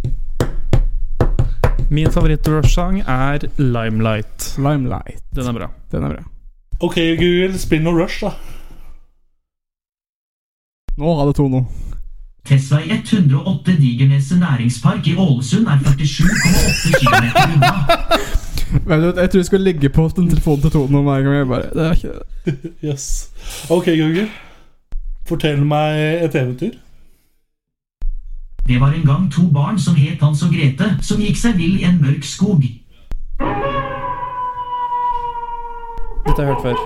[LAUGHS] Min favoritt-Rush-sang er Limelight.
Limelight.
Den er bra.
Den er bra.
Ok, Google, spill noe Rush, da.
Nå har det to nå.
Tesla i 108 Digerneset næringspark i Ålesund er 47,8 km unna.
Vet du, jeg tror jeg skal ligge på den telefonen til Tone hver gang. Jeg bare, det er ikke det.
Yes. Ok, Google. Fortell meg et eventyr.
Det var en gang to barn som het Hans og Grete, som gikk seg vill i en mørk skog.
Dette har jeg hørt før.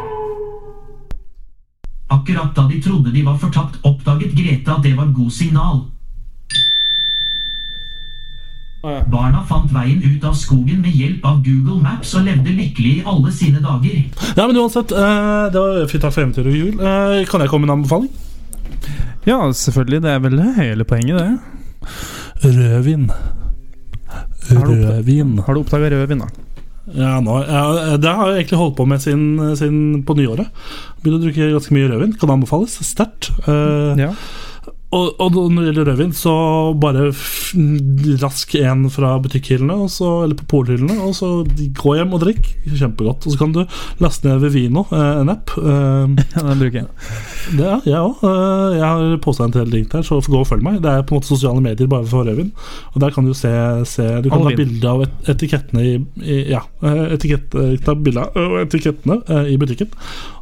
Akkurat da de trodde de var fortapt, oppdaget Grete at det var god signal. Barna fant veien ut av skogen med hjelp av Google Maps og levde lykkelig i alle sine dager.
Nei, men uansett, eh, det var fint takk for eventyret, Google. Eh, kan jeg komme med en anbefaling?
Ja, selvfølgelig. Det er vel hele poenget, det.
Rødvin.
Har du oppdaget-
Rødvin.
Har du oppdaga rødvin, da?
Ja, nå, ja, det har jeg egentlig holdt på med siden, siden på nyåret. Begynte å drikke ganske mye rødvin. Kan anbefales sterkt. Eh,
Ja.
og, og når det gjelder rødvin, så bare f- rask en fra butikkhyllene, og så- eller på polhyllene, og så gå hjem og drikk. Kjempegodt. Og så kan du laste ned Vivino, eh, en app. Eh,
ja den bruker jeg.
det er jeg òg. Jeg har posta en del link der, så gå og følg meg. Det er på en måte sosiale medier bare for rødvin. Og der kan du se, se Du kan
All
ta
vin.
bilde av et- etikettene i, i Ja, eh, etikett, eh, ta bilde av ø, etikettene eh, i butikken.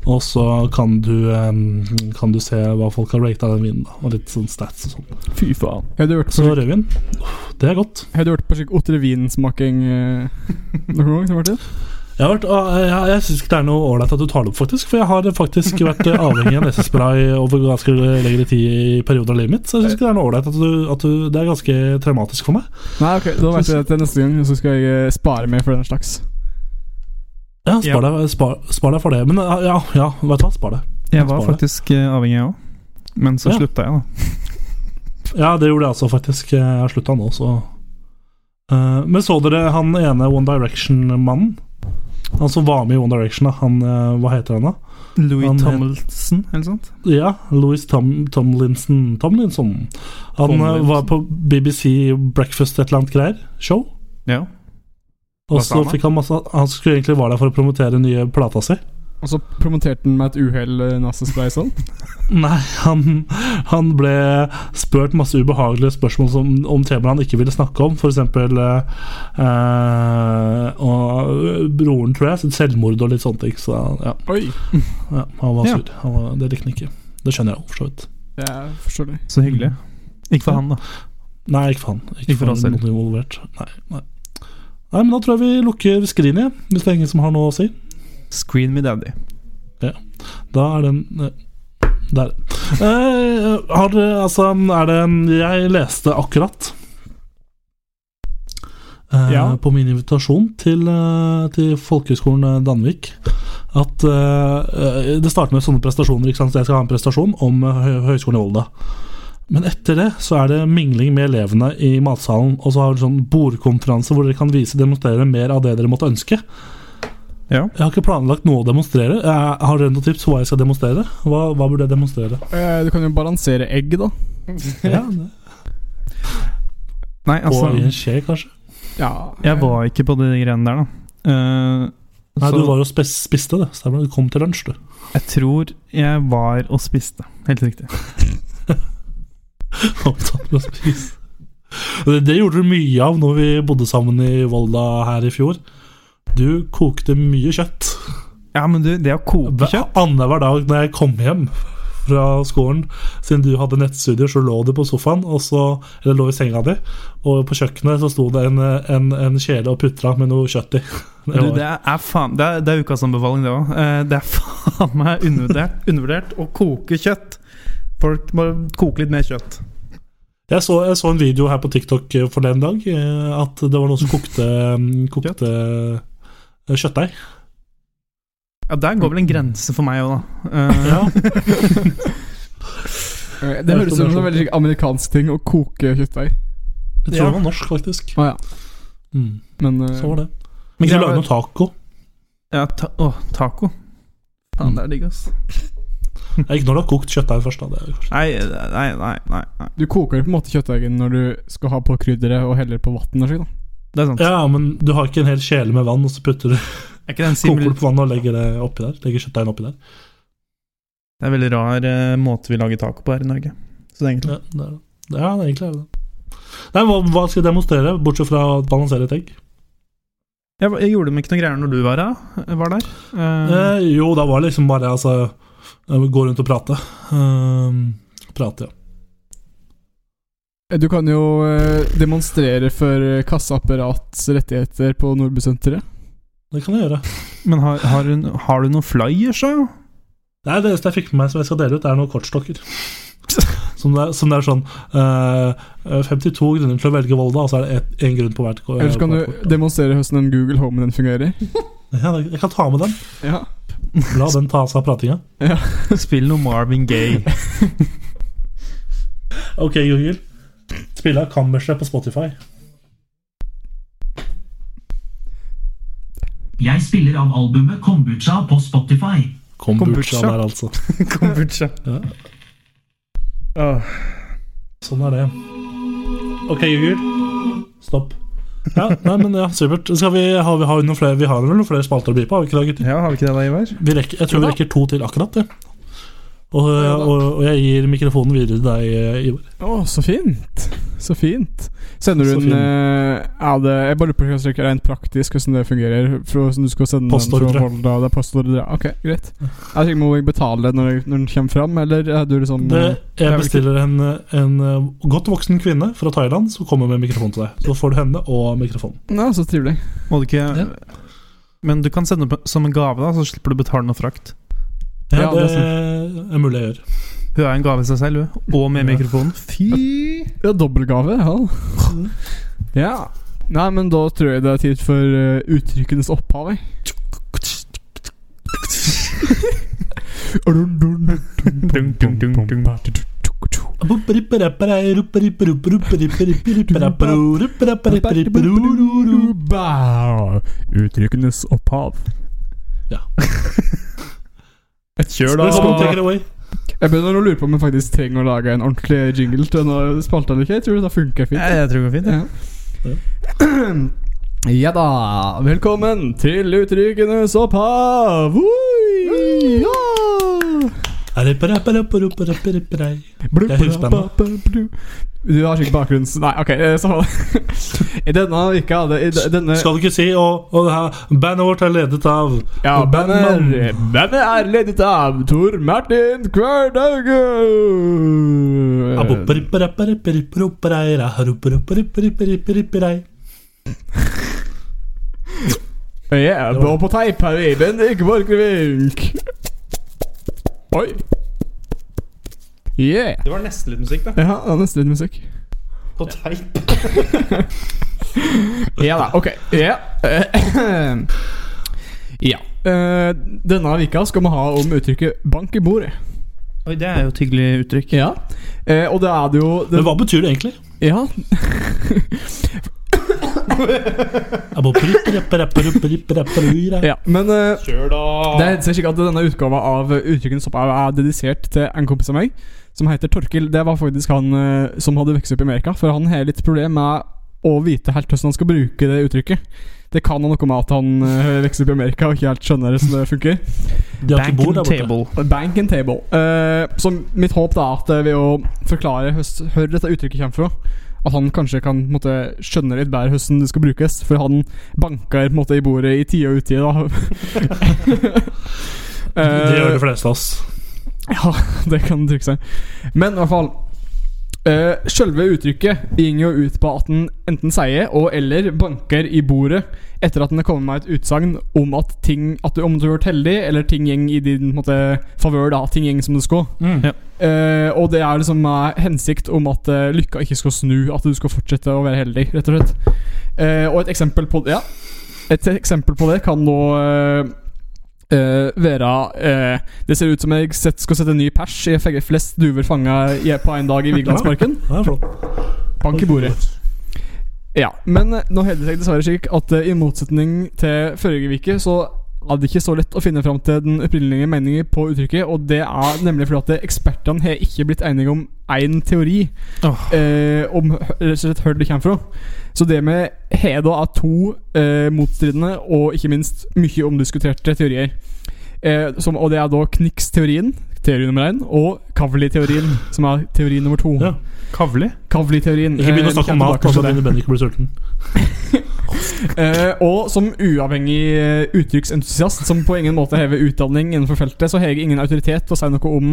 Og så kan du eh, Kan du se hva folk har rata den vinen, da. Og litt sånn stats og sånn.
Fy faen.
Har du hørt på,
Så rødvin, uff, det er godt.
har du hørt på slik otrevin-smaking eh, noen gang? Tom Martin?
Jeg, har vært, ah, jeg, jeg syns ikke det er noe ålreit at du tar det opp, faktisk. For jeg har faktisk vært eh, avhengig av nesespray over ganske lengre tid i perioder av livet mitt. Så jeg syns ikke det er noe ålreit at, du- at du Det er ganske traumatisk for meg.
[LAUGHS] Nei, ok, da vet jeg det til neste gang, så skal jeg eh, spare meg for den slags.
Ja, spar, deg, spar, spar deg for det. Men eh, ja, ja vet du hva, spar det.
Jeg var
Spar det.
faktisk eh, avhengig, jeg òg. Men så
Ja.
slutta jeg, da.
Ja, det gjorde jeg altså, faktisk. Jeg har slutta nå, så Eh, Men så dere han ene One Direction-mannen? Han som var med i One Direction, da. Han, eh, hva heter han, da?
Louis
Han het-
Tommelsen, eller noe sånt.
Ja, Louis Tom, Tomlinson Tomlinson. Han eh,
Tomlinson.
var på BBC Breakfast et eller annet greier, show.
Ja.
Og
Hva sa
så
han da?
fikk han masse Han skulle egentlig være der for å promotere den nye plata si.
Og så promoterte den med et uhell eh, nesespray sånn.
Nei, han, han ble spurt masse ubehagelige spørsmål som, om temaer han ikke ville snakke om. F.eks. Eh, eh, og broren, tror jeg, sitt selvmord og litt sånne ting. Så ja,
[LAUGHS] Oi!
ja han var
Ja.
sur. Han var, det likte han ikke. Det skjønner jeg jo, for så vidt.
Det er forståelig.
Så hyggelig. Ikke for han, da.
Nei, ikke for han. Ikke,
Ikke for
for
oss
han,
heller.
noen involvert. Nei, nei. nei, men da tror jeg vi lukker skrinet, jeg, hvis det er ingen som har noe å si.
Screen me daddy.
Da er den eh, Der. Eh, har dere Altså, er det en Jeg leste akkurat eh,
Ja.
På min invitasjon til, eh, til Folkehøgskolen eh, Danvik at eh, eh, Det starter med sånne prestasjoner. Ikke sant? Så jeg skal ha en prestasjon om eh, hø Høgskolen i Volda. Men etter det så er det mingling med elevene i matsalen. Og så har vi sånn bordkonferanse hvor dere kan vise demonstrere mer av det dere måtte ønske.
Ja.
Jeg har ikke planlagt noe å demonstrere. Jeg har dere noen tips på hva jeg skal demonstrere? Hva, hva burde jeg
[LAUGHS]
demonstrere?
Eh, du kan jo balansere egg, da.
Ja, det-
Nei, altså
og i en skje, kanskje?
Ja.
Jeg var ikke på de greiene der, da. Eh,
Nei,
så
du var jo spe- spiste, det. Stemmer det. Du kom til lunsj, du. [LAUGHS]
jeg tror jeg var og spiste. Helt riktig.
Opptatt med å spise. Det, det gjorde du mye av når vi bodde sammen i Volda her i fjor. Du kokte mye kjøtt.
Ja, men du, det å koke
Hver-
kjøtt
Annenhver dag når jeg kom hjem fra skolen. Siden du hadde nettstudier, så lå du på sofaen, og så, eller lå i senga di. Og på kjøkkenet så sto det en, en, en kjele og putra med noe kjøtt i. [LAUGHS] Det
Du,
var-
det er faen Det er, det er ukas anbefaling, det òg. Det er [LAUGHS] faen meg undervurdert, undervurdert å koke kjøtt. Folk må koke litt mer kjøtt.
Jeg så, jeg så en video her på TikTok eh, for den dag, eh, at det var noen som
[LAUGHS]
kokte, mm, kokte eh, kjøttdeig.
Ja, Der går vel en grense for meg òg, da. Eh, [LAUGHS]
Ja.
Eh, Det høres ut som en veldig amerikansk ting å koke kjøttdeig.
Jeg tror
Ja.
det var norsk, faktisk.
Å ja.
Mm.
Men eh,
Så var det. Men
Ja,
de lager
men-
noe taco.
Ja, ta å, taco. Faen, det er digg, ass.
Ja, ikke når du har kokt kjøttdeig først. da det er jo kanskje.
Nei, eh, nei, nei. nei, nei.
du koker på en måte kjøttdeigen når du skal ha på krydderet og heller på vann. og slik, da.
Det er sant.
Ja, men du har ikke en hel kjele med vann, og så putter du
Er ikke det en simul...
koker du på vannet og legger det oppi der. Legger kjøttdeigen oppi der.
Det er en veldig rar eh, måte vi lager taco på her i Norge. Så det er egentlig
Ja, det er det. Ja, det er egentlig er det det. Nei, hva, hva skal jeg demonstrere, bortsett fra å balansere et egg?
jeg, jeg gjorde meg ikke noen greier når du var, her- var der. Eh,
Eh, jo, da var det liksom bare altså, eh, gå rundt og prate. Eh, prate, ja.
Eh, Du kan jo eh, demonstrere for eh, kasseapparats rettigheter på Nordbysenteret.
Det kan jeg gjøre.
men har, har, du, har du noen flyers, da? [LAUGHS]
Nei, det eneste jeg fikk med meg som jeg skal dele ut, er noen kortstokker. Som det, er- som det er sånn eh, 52 grunner til å velge Volda, og så er det én grunn på hvert kort.
Eller så kan du demonstrere hvordan en Google Home den fungerer.
ja, Jeg kan ta med den.
Ja.
La den ta seg av pratinga.
Spill noe Marvin Gaye.
Ok, Google. Spill av Kammerset på Spotify.
Jeg spiller av albumet Kombucha på Spotify.
Kombucha.
der, altså.
[LAUGHS] Kombucha.
Ja.
Åh,
Sånn er det. Ok, Google. Stopp. Ja, nei, men ja, supert. Skal vi, har vi, har vi, noen flere, vi har vel noen flere spalter å by på? Har vi ikke det, gutter?
ja, har vi ikke det da, Ivar?
Vi rekker, jeg tror vi rekker to til akkurat det. Og, og, og jeg gir mikrofonen videre til deg, Ivar.
Å, så fint! Så fint. Sender du
Så
en
fint.
eh, Ja, det Jeg bare lurer på hvordan det er rent praktisk hvordan det fungerer. For hvordan du skal sende den
Postordre.
fra Volda Det er postordre. ja. Ok, greit. Jeg tenker, Må jeg betale når, når den kommer fram, eller er du liksom
Det,
eh,
jeg
vel
bestiller en, en eh, godt voksen kvinne fra Thailand som kommer med mikrofon til deg. Så får du henne og mikrofonen.
eh, Ja, så trivelig.
Må du ikke
Ja.
Men du kan sende opp som en gave, da, så slipper du å betale noe frakt.
Ja,
Ja,
det
det er
er mulig jeg gjør.
Hun er en gave i seg selv, hun. Og med
Ja.
mikrofonen. Fy!
Ja, dobbeltgave. Ja. ja. Nei, men da tror jeg det er tid for eh, uttrykkenes opphav. jeg.
Dun, dun, dun, dun.
Uttrykkenes opphav.
Ja.
Kjør, da.
Let's go, take it away.
Jeg begynner å lure på om jeg faktisk trenger å lage en ordentlig jingle til denne spalta eller ikke. Jeg tror det funker fint.
Ja, jeg tror det går fint. Ja.
Ja. Ja da, velkommen til Uttrykkenes opphav! Oi, ja! Blu,
Det er helt spennende.
blu, blu, blu. Du har sikkert bakgrunns... Nei, ok, eh, så [LAUGHS] I denne uka hadde i de- denne,
Skal du ikke si Og, og det her, Bandet vårt er ledet av
Ja, bandet
Bandmann.
bandet er ledet av Tor Martin Kvernhauge! Ja, og på teip har vi Bendik Borchgrevink. Oi. Yeah.
Det var nesten litt musikk, da.
Ja, det er nesten litt musikk.
På teip.
Ja da, ok. Ja. [LAUGHS] ja. Eh, denne vika skal vi ha om uttrykket 'bank i bordet'.
Oi, det er jo et hyggelig uttrykk.
Ja. Eh, og da er det jo
Men
det,
hva betyr det egentlig?
Ja. ja. Men eh,
Kjør, da.
det er helt sikkert at denne utgava av Uttrykkenes opphav er dedisert til en kompis av meg som heter Torkil. Det var faktisk han eh, som hadde vokst opp i Amerika, for han har litt problem med å vite helt hvordan han skal bruke det uttrykket. Det kan ha noe med at han eh, vokste opp i Amerika og ikke helt skjønner hvordan det funker.
De har
Bank
ikke bord
and
der borte.
table.
Bank and table. Eh, så mitt håp da er at eh, ved å forklare høst- hvor dette uttrykket kommer fra, at han kanskje kan på en måte, skjønne litt bedre hvordan det skal brukes. For han banker på en måte, i bordet
[LAUGHS]
i tide og utide. da.
Det gjør de
Eh,
fleste av oss.
Ja, det kan trykke seg. Men i hvert fall eh, Selve uttrykket gikk jo ut på at den enten sier og eller banker i bordet etter at den har kommet med et utsagn om at ting At du, om du har vært heldig, eller ting gjeng i din på en måte, favør, da. Ting gjeng som det skal.
Ja.
Eh, og det er liksom med hensikt om at eh, lykka ikke skal snu, at du skal fortsette å være heldig, rett og slett. Eh, og et eksempel på det ja. Et eksempel på det kan nå eh, eh, være eh, Det ser ut som jeg sett, skal sette en ny pers i feg- flest duver fanga i- på én dag i Vigelandsparken.
Det er flott.
Bank i bordet. Ja, Men eh, nå holder det seg dessverre slik at eh, i motsetning til forrige uke, så er det ikke så lett å finne fram til den opprinnelige meningen på uttrykket. Og det er nemlig fordi at eh, ekspertene har ikke blitt enige om én teori.
Åh.
Eh, om hø- rett og slett hvor det kommer fra. Så det med Heda er to eh, motstridende og ikke minst mye omdiskuterte teorier. Eh, som, og det er da Knix-teorien, teori nummer én, og Kavli-teorien, som er teori nummer to.
Ja.
Kavli?
Kavli-teorien.
Ikke begynn
eh,
å snakke om
vi kommer
mat,
tilbake
altså
til det.
dine bønder ikke blir sulten.
[LAUGHS] Eh, og som uavhengig eh, uttrykksentusiast som på ingen måte hever utdanning innenfor feltet, så har jeg ingen autoritet til å si noe om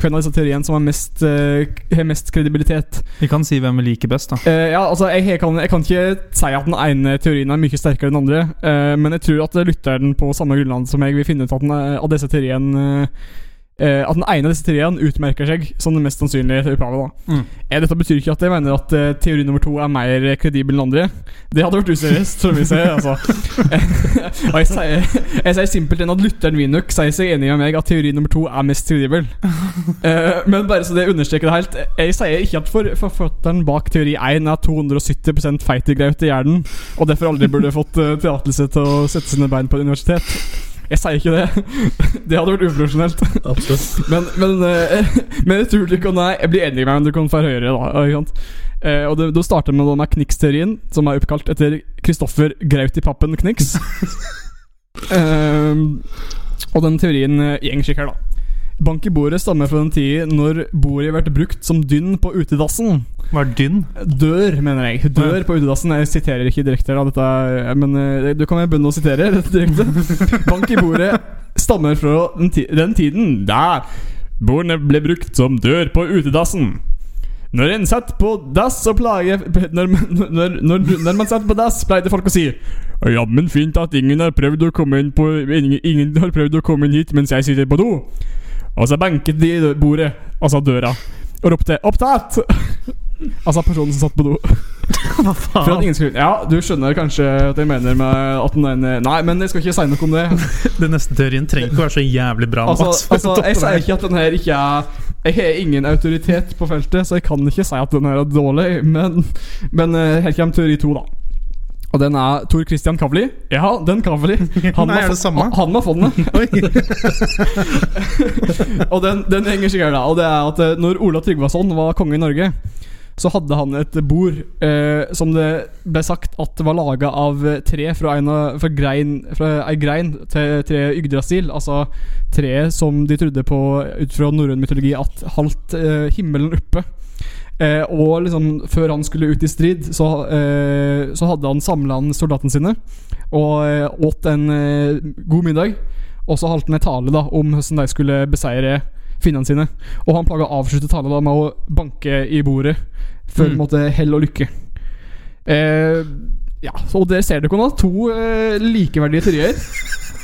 hvem av disse teoriene som har mest, eh, har mest kredibilitet.
Vi kan si hvem vi liker best, da.
Eh, ja, altså, jeg, jeg, kan, jeg kan ikke si at den ene teorien er mye sterkere enn den andre, eh, men jeg tror at lytteren på samme grunnlag som jeg vil finne ut at den, eh, av disse teoriene eh, At den ene av disse teoriene utmerker seg som den mest sannsynlige opphavet. da.
Mm.
Eh, dette betyr ikke at jeg mener at eh, teori nummer to er mer kredibel enn den andre. Det hadde vært useriøst, tror jeg vi sier. Altså. Og jeg sier, jeg sier simpelthen at lytteren min nok sier seg enig med meg at teori nummer to er mest kredibel. [LAUGHS] Eh, men bare så det understreker det helt eh, Jeg sier ikke at for forfatteren bak teori 1 er 270 feitegraut i hjernen, og derfor aldri burde [LAUGHS] fått eh, tillatelse til å sette sine bein på et universitet. Jeg sier ikke det. [LAUGHS] Det hadde vært uprofesjonelt.
Absolutt.
Men, men, eh, [LAUGHS] men jeg tror du kan Nei, jeg blir enig med deg, men du kan få høre det, da. Ikke sant? Eh, og det, Du starter med denne Knix-teorien, som er oppkalt etter Kristoffer Graut i pappen Knix. Ehm, og den teorien eh, gjeng slik her, da. Bank i bordet stammer fra den tida når bordet ble brukt som dynn på utedassen.
Hva er dynn?
Dør, mener jeg. Dør på utedassen. Jeg siterer ikke direkte, da, dette, er- men eh, du kan jo begynne å sitere dette direkte. Bank i bordet stammer fra den, ti den tiden da bordene ble brukt som dør på utedassen. Når en satt på dass og plage når, når, når, når man satt på dass, pleide folk å si Jammen fint at ingen har prøvd å komme inn på ingen, ingen har prøvd å komme inn hit mens jeg sitter på do. Og så banket de i bordet, altså døra, og ropte 'opptatt'! Altså personen som satt [LAUGHS] på do.
Hva
For at
faen?
ingen skulle Ja, du skjønner kanskje at jeg mener med at den ene Nei, men jeg skal ikke si noe om det.
Den neste teorien trenger ikke å være så jævlig bra.
Altså,
Mats, for å
altså
toppe
Jeg
det her.
sier ikke at den her ikke er Jeg har ingen autoritet på feltet, så jeg kan ikke si at den her er dårlig, men, men eh, her kommer teori to, da. Og den er Tor Christian Kavli. Ja, den Kavli.
Nei, er det samme?
[LAUGHS] Han, han var
[LAUGHS]
fondet.
Oi.
[LAUGHS] Og den, den henger sikkert da Og det er at eh, når Ola Tryggvason var konge i Norge Så hadde han et bord eh, Som det ble sagt at det var laget av eh, tre Fra, en, av- fra, grein, fra ei grein til tre Yggdrasil Altså tre som de trodde på Ut fra norrøn mytologi At halvt eh, himmelen oppe Eh, og liksom før han skulle ut i strid, så, eh, så hadde han samla soldatene sine og eh, åt en eh, god middag. Og så holdt han en tale da om hvordan de skulle beseire finnene sine. Og han plaga å avslutte talen da med å banke i bordet for
Mm.
på en måte hell og lykke. Eh, ja, og der ser dere nå to eh, likeverdige teorier.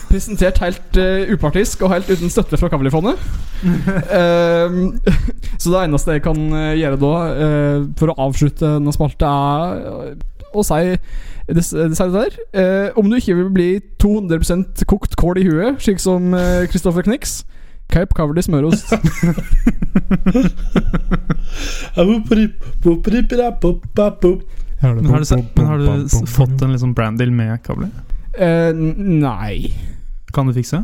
Presentert helt eh, upartisk og helt uten støtte fra Kavli-fondet. Ehm, så det eneste jeg kan eh, gjøre da, eh, for å avslutte denne spalte, er å si det, det, sier det der. Eh, om du ikke vil bli 200 kokt kål i huet, slik som Kristoffer Knix Cape Coverley [LAUGHS] smørost.
Men har du, se- men har du s- fått en liksom brandil med kavli?
Eh, nei.
Kan du fikse?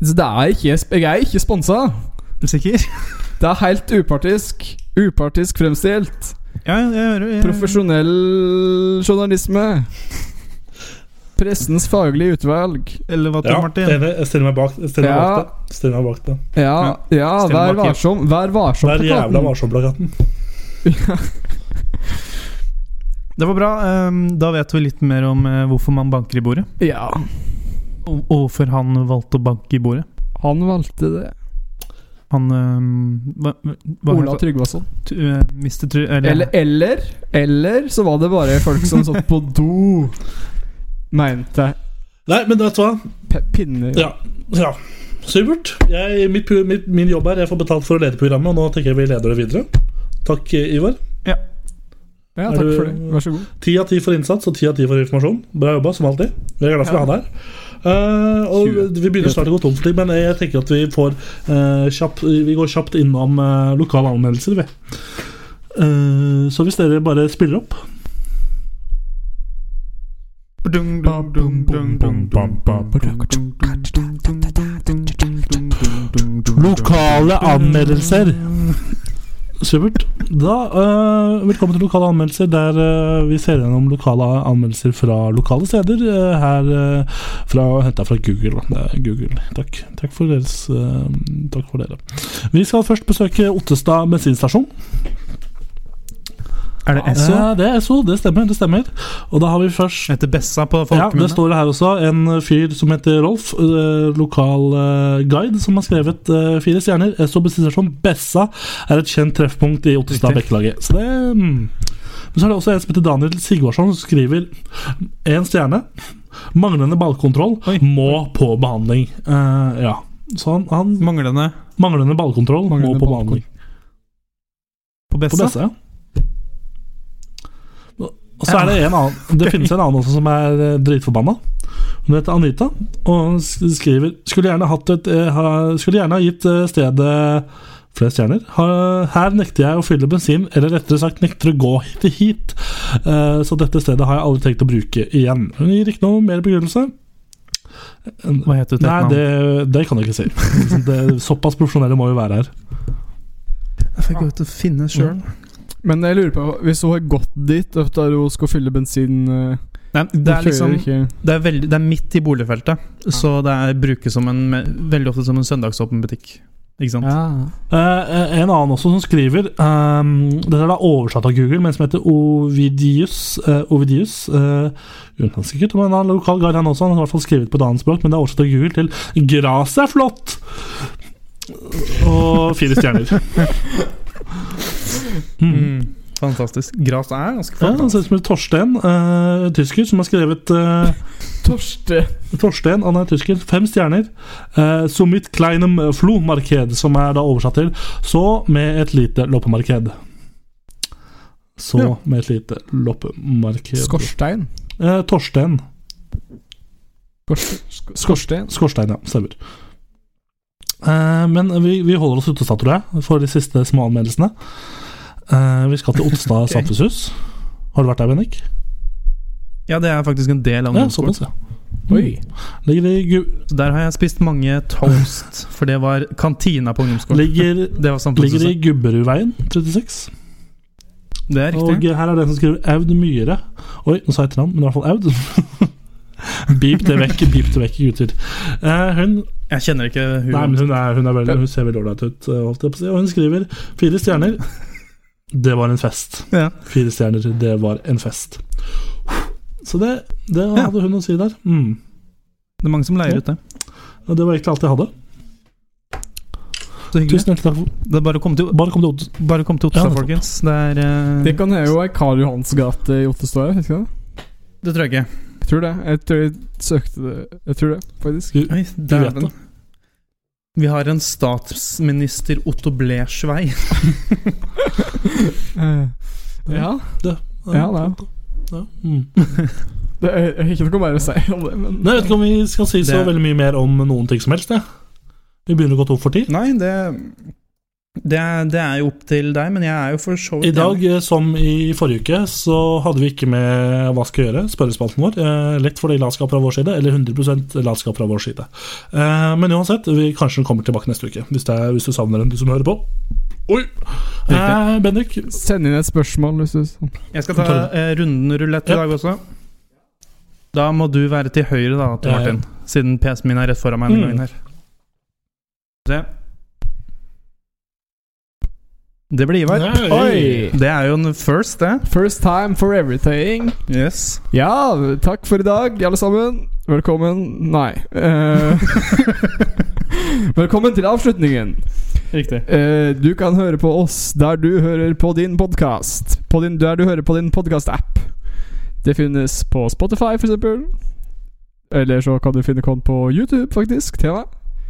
Så det er ikke, jeg er ikke sponsa.
Er du sikker?
Det er helt upartisk. Upartisk fremstilt.
Ja, jeg hører jeg-
Profesjonell journalisme. Pressens faglige utvalg.
Eller hva tror
Ja,
du, Martin?
enig. Jeg stiller meg bak, jeg stiller meg
Ja.
bak det. Jeg Stiller meg bak det.
Ja, ja,
Stell
vær
bak i.
varsom. Vær varsom.
Det er
plakaten.
jævla varsom-plakaten.
Det var bra. ehm, Da vet vi litt mer om eh, hvorfor man banker i bordet.
Ja,
Og og hvorfor han valgte å banke i bordet.
han valgte det.
Han øhm, hva, hva
Ola
heter
Tryggvason.
T- øh, Mr. Try... Eller,
Eller, eller Eller så var det bare folk som satt på do, mente
Nei, men vet du hva?
P- Pinner.
Ja. ja. Supert. Jeg, mitt, pro- mitt, min jobb er jeg får betalt for å lede programmet, og nå tenker jeg vi leder det videre. Takk, eh, Ivar.
Ja,
Er
takk
du-
for det. Vær så god.
Ti av ti for innsats og ti av ti for informasjon. Bra jobba, som alltid. Vi er glad for å ha deg her. Eh, og vi begynner snart å gå tom for tid, men jeg tenker at vi, får, eh, kjapt, vi går kjapt innom eh, lokale anmeldelser. Vi. Eh, så hvis dere bare spiller opp
Dung, dung, dung, dung, dung, dung, dung, dung, dung, dung, dung, dung, dung, dung.
Lokale anmeldelser. Supert. Da, eh, velkommen til Lokale anmeldelser, der eh, vi ser gjennom lokale anmeldelser fra lokale steder. eh, her eh, fra, henta fra Google. da. Det er Google. Takk. Takk, for deres, eh, takk for dere. Vi skal først besøke Ottestad bensinstasjon.
Er det Esso?
Eh, det er SO, det stemmer. det stemmer Og da har vi først
Heter Bessa på
ja, det
folkemunne?
står det her også. En fyr som heter Rolf, eh, lokal eh, guide, som har skrevet eh, fire stjerner. Eh, Så beskriver som Bessa er et kjent treffpunkt i Ottestad
Riktig.
Bekkelaget. Så det mm. Men så er det også en som heter Daniel Sigvardsson, som skriver én stjerne. Manglende ballkontroll
Oi.
må på behandling. Eh, ja. Så han, han
Manglende
Manglende ballkontroll må
Manglende
på
ballkon-
behandling.
på
På
Bessa?
Bessa, ja. Og så er det en annen Det finnes en annen også som er eh, dritforbanna. Hun heter Anita og hun sk- skriver Skulle gjerne hatt et eh, ha, Skulle gjerne ha gitt eh, stedet flere stjerner. Ha- Her nekter jeg å fylle bensin, eller rettere sagt nekter å gå hit til hit. Eh, Så dette stedet har jeg aldri tenkt å bruke igjen. Hun gir ikke noe mer begrunnelse.
Hva heter det?
Nei, det, det kan jeg ikke si. Det, såpass profesjonelle må vi være her.
Jeg fikk ut å finne sjøl.
Men jeg lurer på, hvis hun har gått dit etter hun skal fylle bensin eh,
Nei, det
hun
er liksom
kjører ikke-
Det er, veldig, det er midt i boligfeltet, så det er, brukes som en, veldig ofte som en søndagsåpen butikk. Ikke sant?
Eh, en annen også som skriver um, Dette er da oversatt av Google, men som heter Ovidius. eh, Ovidius uh, Utenlandsk gutt, men han er lokal guide, han også. Han har i hvert fall skrevet på et annet språk, men det er oversatt av Google til 'Gresset er flott'! Og fire stjerner. Mm.
Mm, fantastisk. Gras er ganske
Ja, han
flott. da.
ser ut som en Torstein, eh, tysker, som har skrevet eh,
Torste.
Torstein, han er tysker, fem stjerner. Eh, so mit kleinem Flohmarked, som er da oversatt til Så med et lite loppemarked. Så
Ja.
med et lite loppemarked.
Skorstein.
Eh, Torstein.
Skorste- sk- Skorstein.
Skorstein, ja. Stemmer. Eh, men vi, vi holder oss ute, sa, tror jeg, for de siste små anmeldelsene. Eh, vi skal til
[LAUGHS]
Otstad samfunnshus. Har du vært der, Bennik?
Ja, det er Mm. faktisk en del av
Ja,
ungdomsskolen.
såpass, ja. Oi. Ligger i, gu-
Så der har jeg spist mange
[LAUGHS]
toast, for det var kantina på ungdomsskolen. [LAUGHS]
ligger,
Det var
ligger i
samfunnshuset.
Gubberudveien 36.
Det er
Og
riktig.
her er det som skriver Aud Myhre. Oi, nå sa jeg etternavn, men i hvert fall Aud. [LAUGHS] Beep det vekk, beep det vekk, gutter. Eh, hun,
Jeg kjenner ikke hun.
nei, men hun, er, hun, er veldig, hun ser veldig ålreit ut, eh, holdt jeg på å si. Og hun skriver fire stjerner. Det var en fest.
Ja.
Fire stjerner, det var en fest. Så det, det
Ja.
hadde hun å si der. Mm.
Det er mange som leier ut det.
Og det var egentlig alt jeg hadde.
Så hyggelig.
Tusen hjertelig takk. for-
Det er bare å komme til,
Bare kom til Odd.
bare å komme til Otsa,
Ja, nettopp.
folkens. Det er eh,
Det kan hende jo ei Karl Johans gate i Ottestad, vet ikke det?
Det tror jeg ikke.
Jeg tror det. Jeg tror jeg søkte det Jeg tror det, faktisk.
Du-
Oi,
vet
dæven.
det.
Vi har en statsminister Otto Blesjvei.
Eh, Ja. Ja, det
Ja. Mm.
Det er jeg har ikke noe mer å si om det, men
Nei, Jeg vet ikke om vi skal si så
Det-
veldig mye mer om noen ting som helst. Ja. Vi begynner å gå tom for tid.
Nei, det, det, er, det er jo opp til deg, men jeg er jo for så
I
vidt
dag,
enig.
eh, som i forrige uke, så hadde vi ikke med Hva skal jeg gjøre? spørrespalten vår. Eh, Lett fordi latskap fra vår side, eller 100 latskap fra vår side. Eh, Men uansett, vi, kanskje den kommer tilbake neste uke, hvis, det er, hvis du savner den, du som hører på. Oi! Eh, Bendik,
send inn et spørsmål hvis du sånn.
Jeg skal ta eh, runden rulett i
Ja.
dag også. Da må du være til høyre, da, til
Ja, ja.
Martin. Siden PC-en min er rett foran meg. denne
Mm.
gangen her. Se. Det blir Ivar.
Nei.
Oi!
Det er jo en first, det.
First time for everything.
Yes.
Ja, takk for i dag, alle sammen. [LAUGHS] Velkommen Nei. eh, velkommen til avslutningen.
Riktig.
Eh, du kan høre på oss der du hører på din podkast. Der du hører på din podkast-app. Det finnes på Spotify, for eksempel Eller så kan du finne kon på YouTube, faktisk. Tema.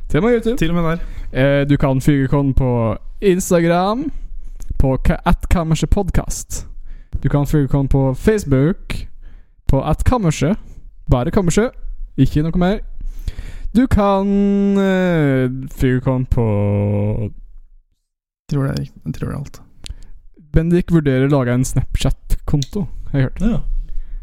Tema YouTube.
Til og med der.
Eh, du kan fyge kon på Instagram, på ka- atkammersetpodkast. Du kan fyge kon på Facebook, på atkammerset. Bare kammerset, ikke noe mer. Du kan uh, fyge kon på
Tror det, er- jeg tror det er alt.
Bendik vurderer å lage en Snapchat-konto, har jeg hørt.
Ja.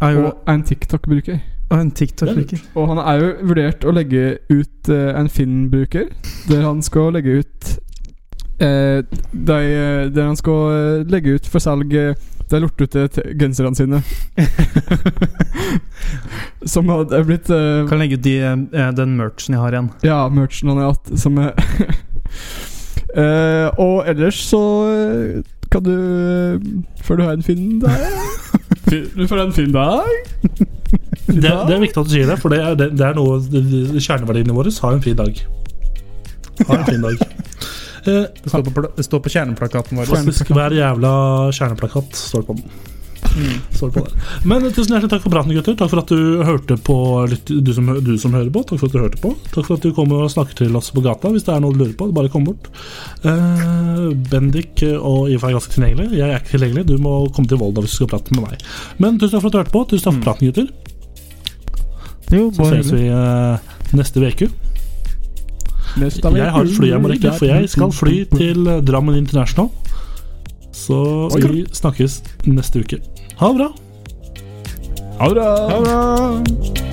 Er jo,
Og en TikTok-bruker.
og en TikTok-bruker.
Og han er jo vurdert å legge ut eh, en Finn-bruker, der han skal legge ut eh, de, eh, Der han skal eh, legge ut for salg eh, de lortete t- genserne sine. [LAUGHS] som hadde blitt eh,
Kan legge ut de, eh, den merchen jeg har igjen.
Ja, merchen han har hatt, som er [LAUGHS] Eh, Og ellers så eh, kan du eh, Før du har en fin [LAUGHS] dag Fin- Du får en fin dag.
Det, det er viktig at du sier det, for det er, det, det er noe Kjerneverdiene våre ha en fin dag. Ha en fin dag. Eh,
Det står på, pla- det står på kjerneplakaten vår.
Faktisk hver jævla kjerneplakat står det på den. Står det på der. Men eh, tusen hjertelig takk for praten, gutter. Takk for at du hørte på, lytt- du som, hø- du som hører på. Takk for at du hørte på. Takk for at du kommer og snakker til oss på gata hvis det er noe du lurer på. Bare kom bort. Eh, Bendik og Ivar er ganske tilgjengelig. Jeg er ikke tilgjengelig. Du må komme til Volda hvis du skal prate med meg. Men tusen takk for at du hørte på. Tusen takk for praten, gutter.
Jo,
Så ses vi eh, neste uke. Jeg har et fly jeg må rekke, for jeg skal fly til eh, Drammen International. Så vi snakkes neste uke. Ha det bra.
Ha det! bra.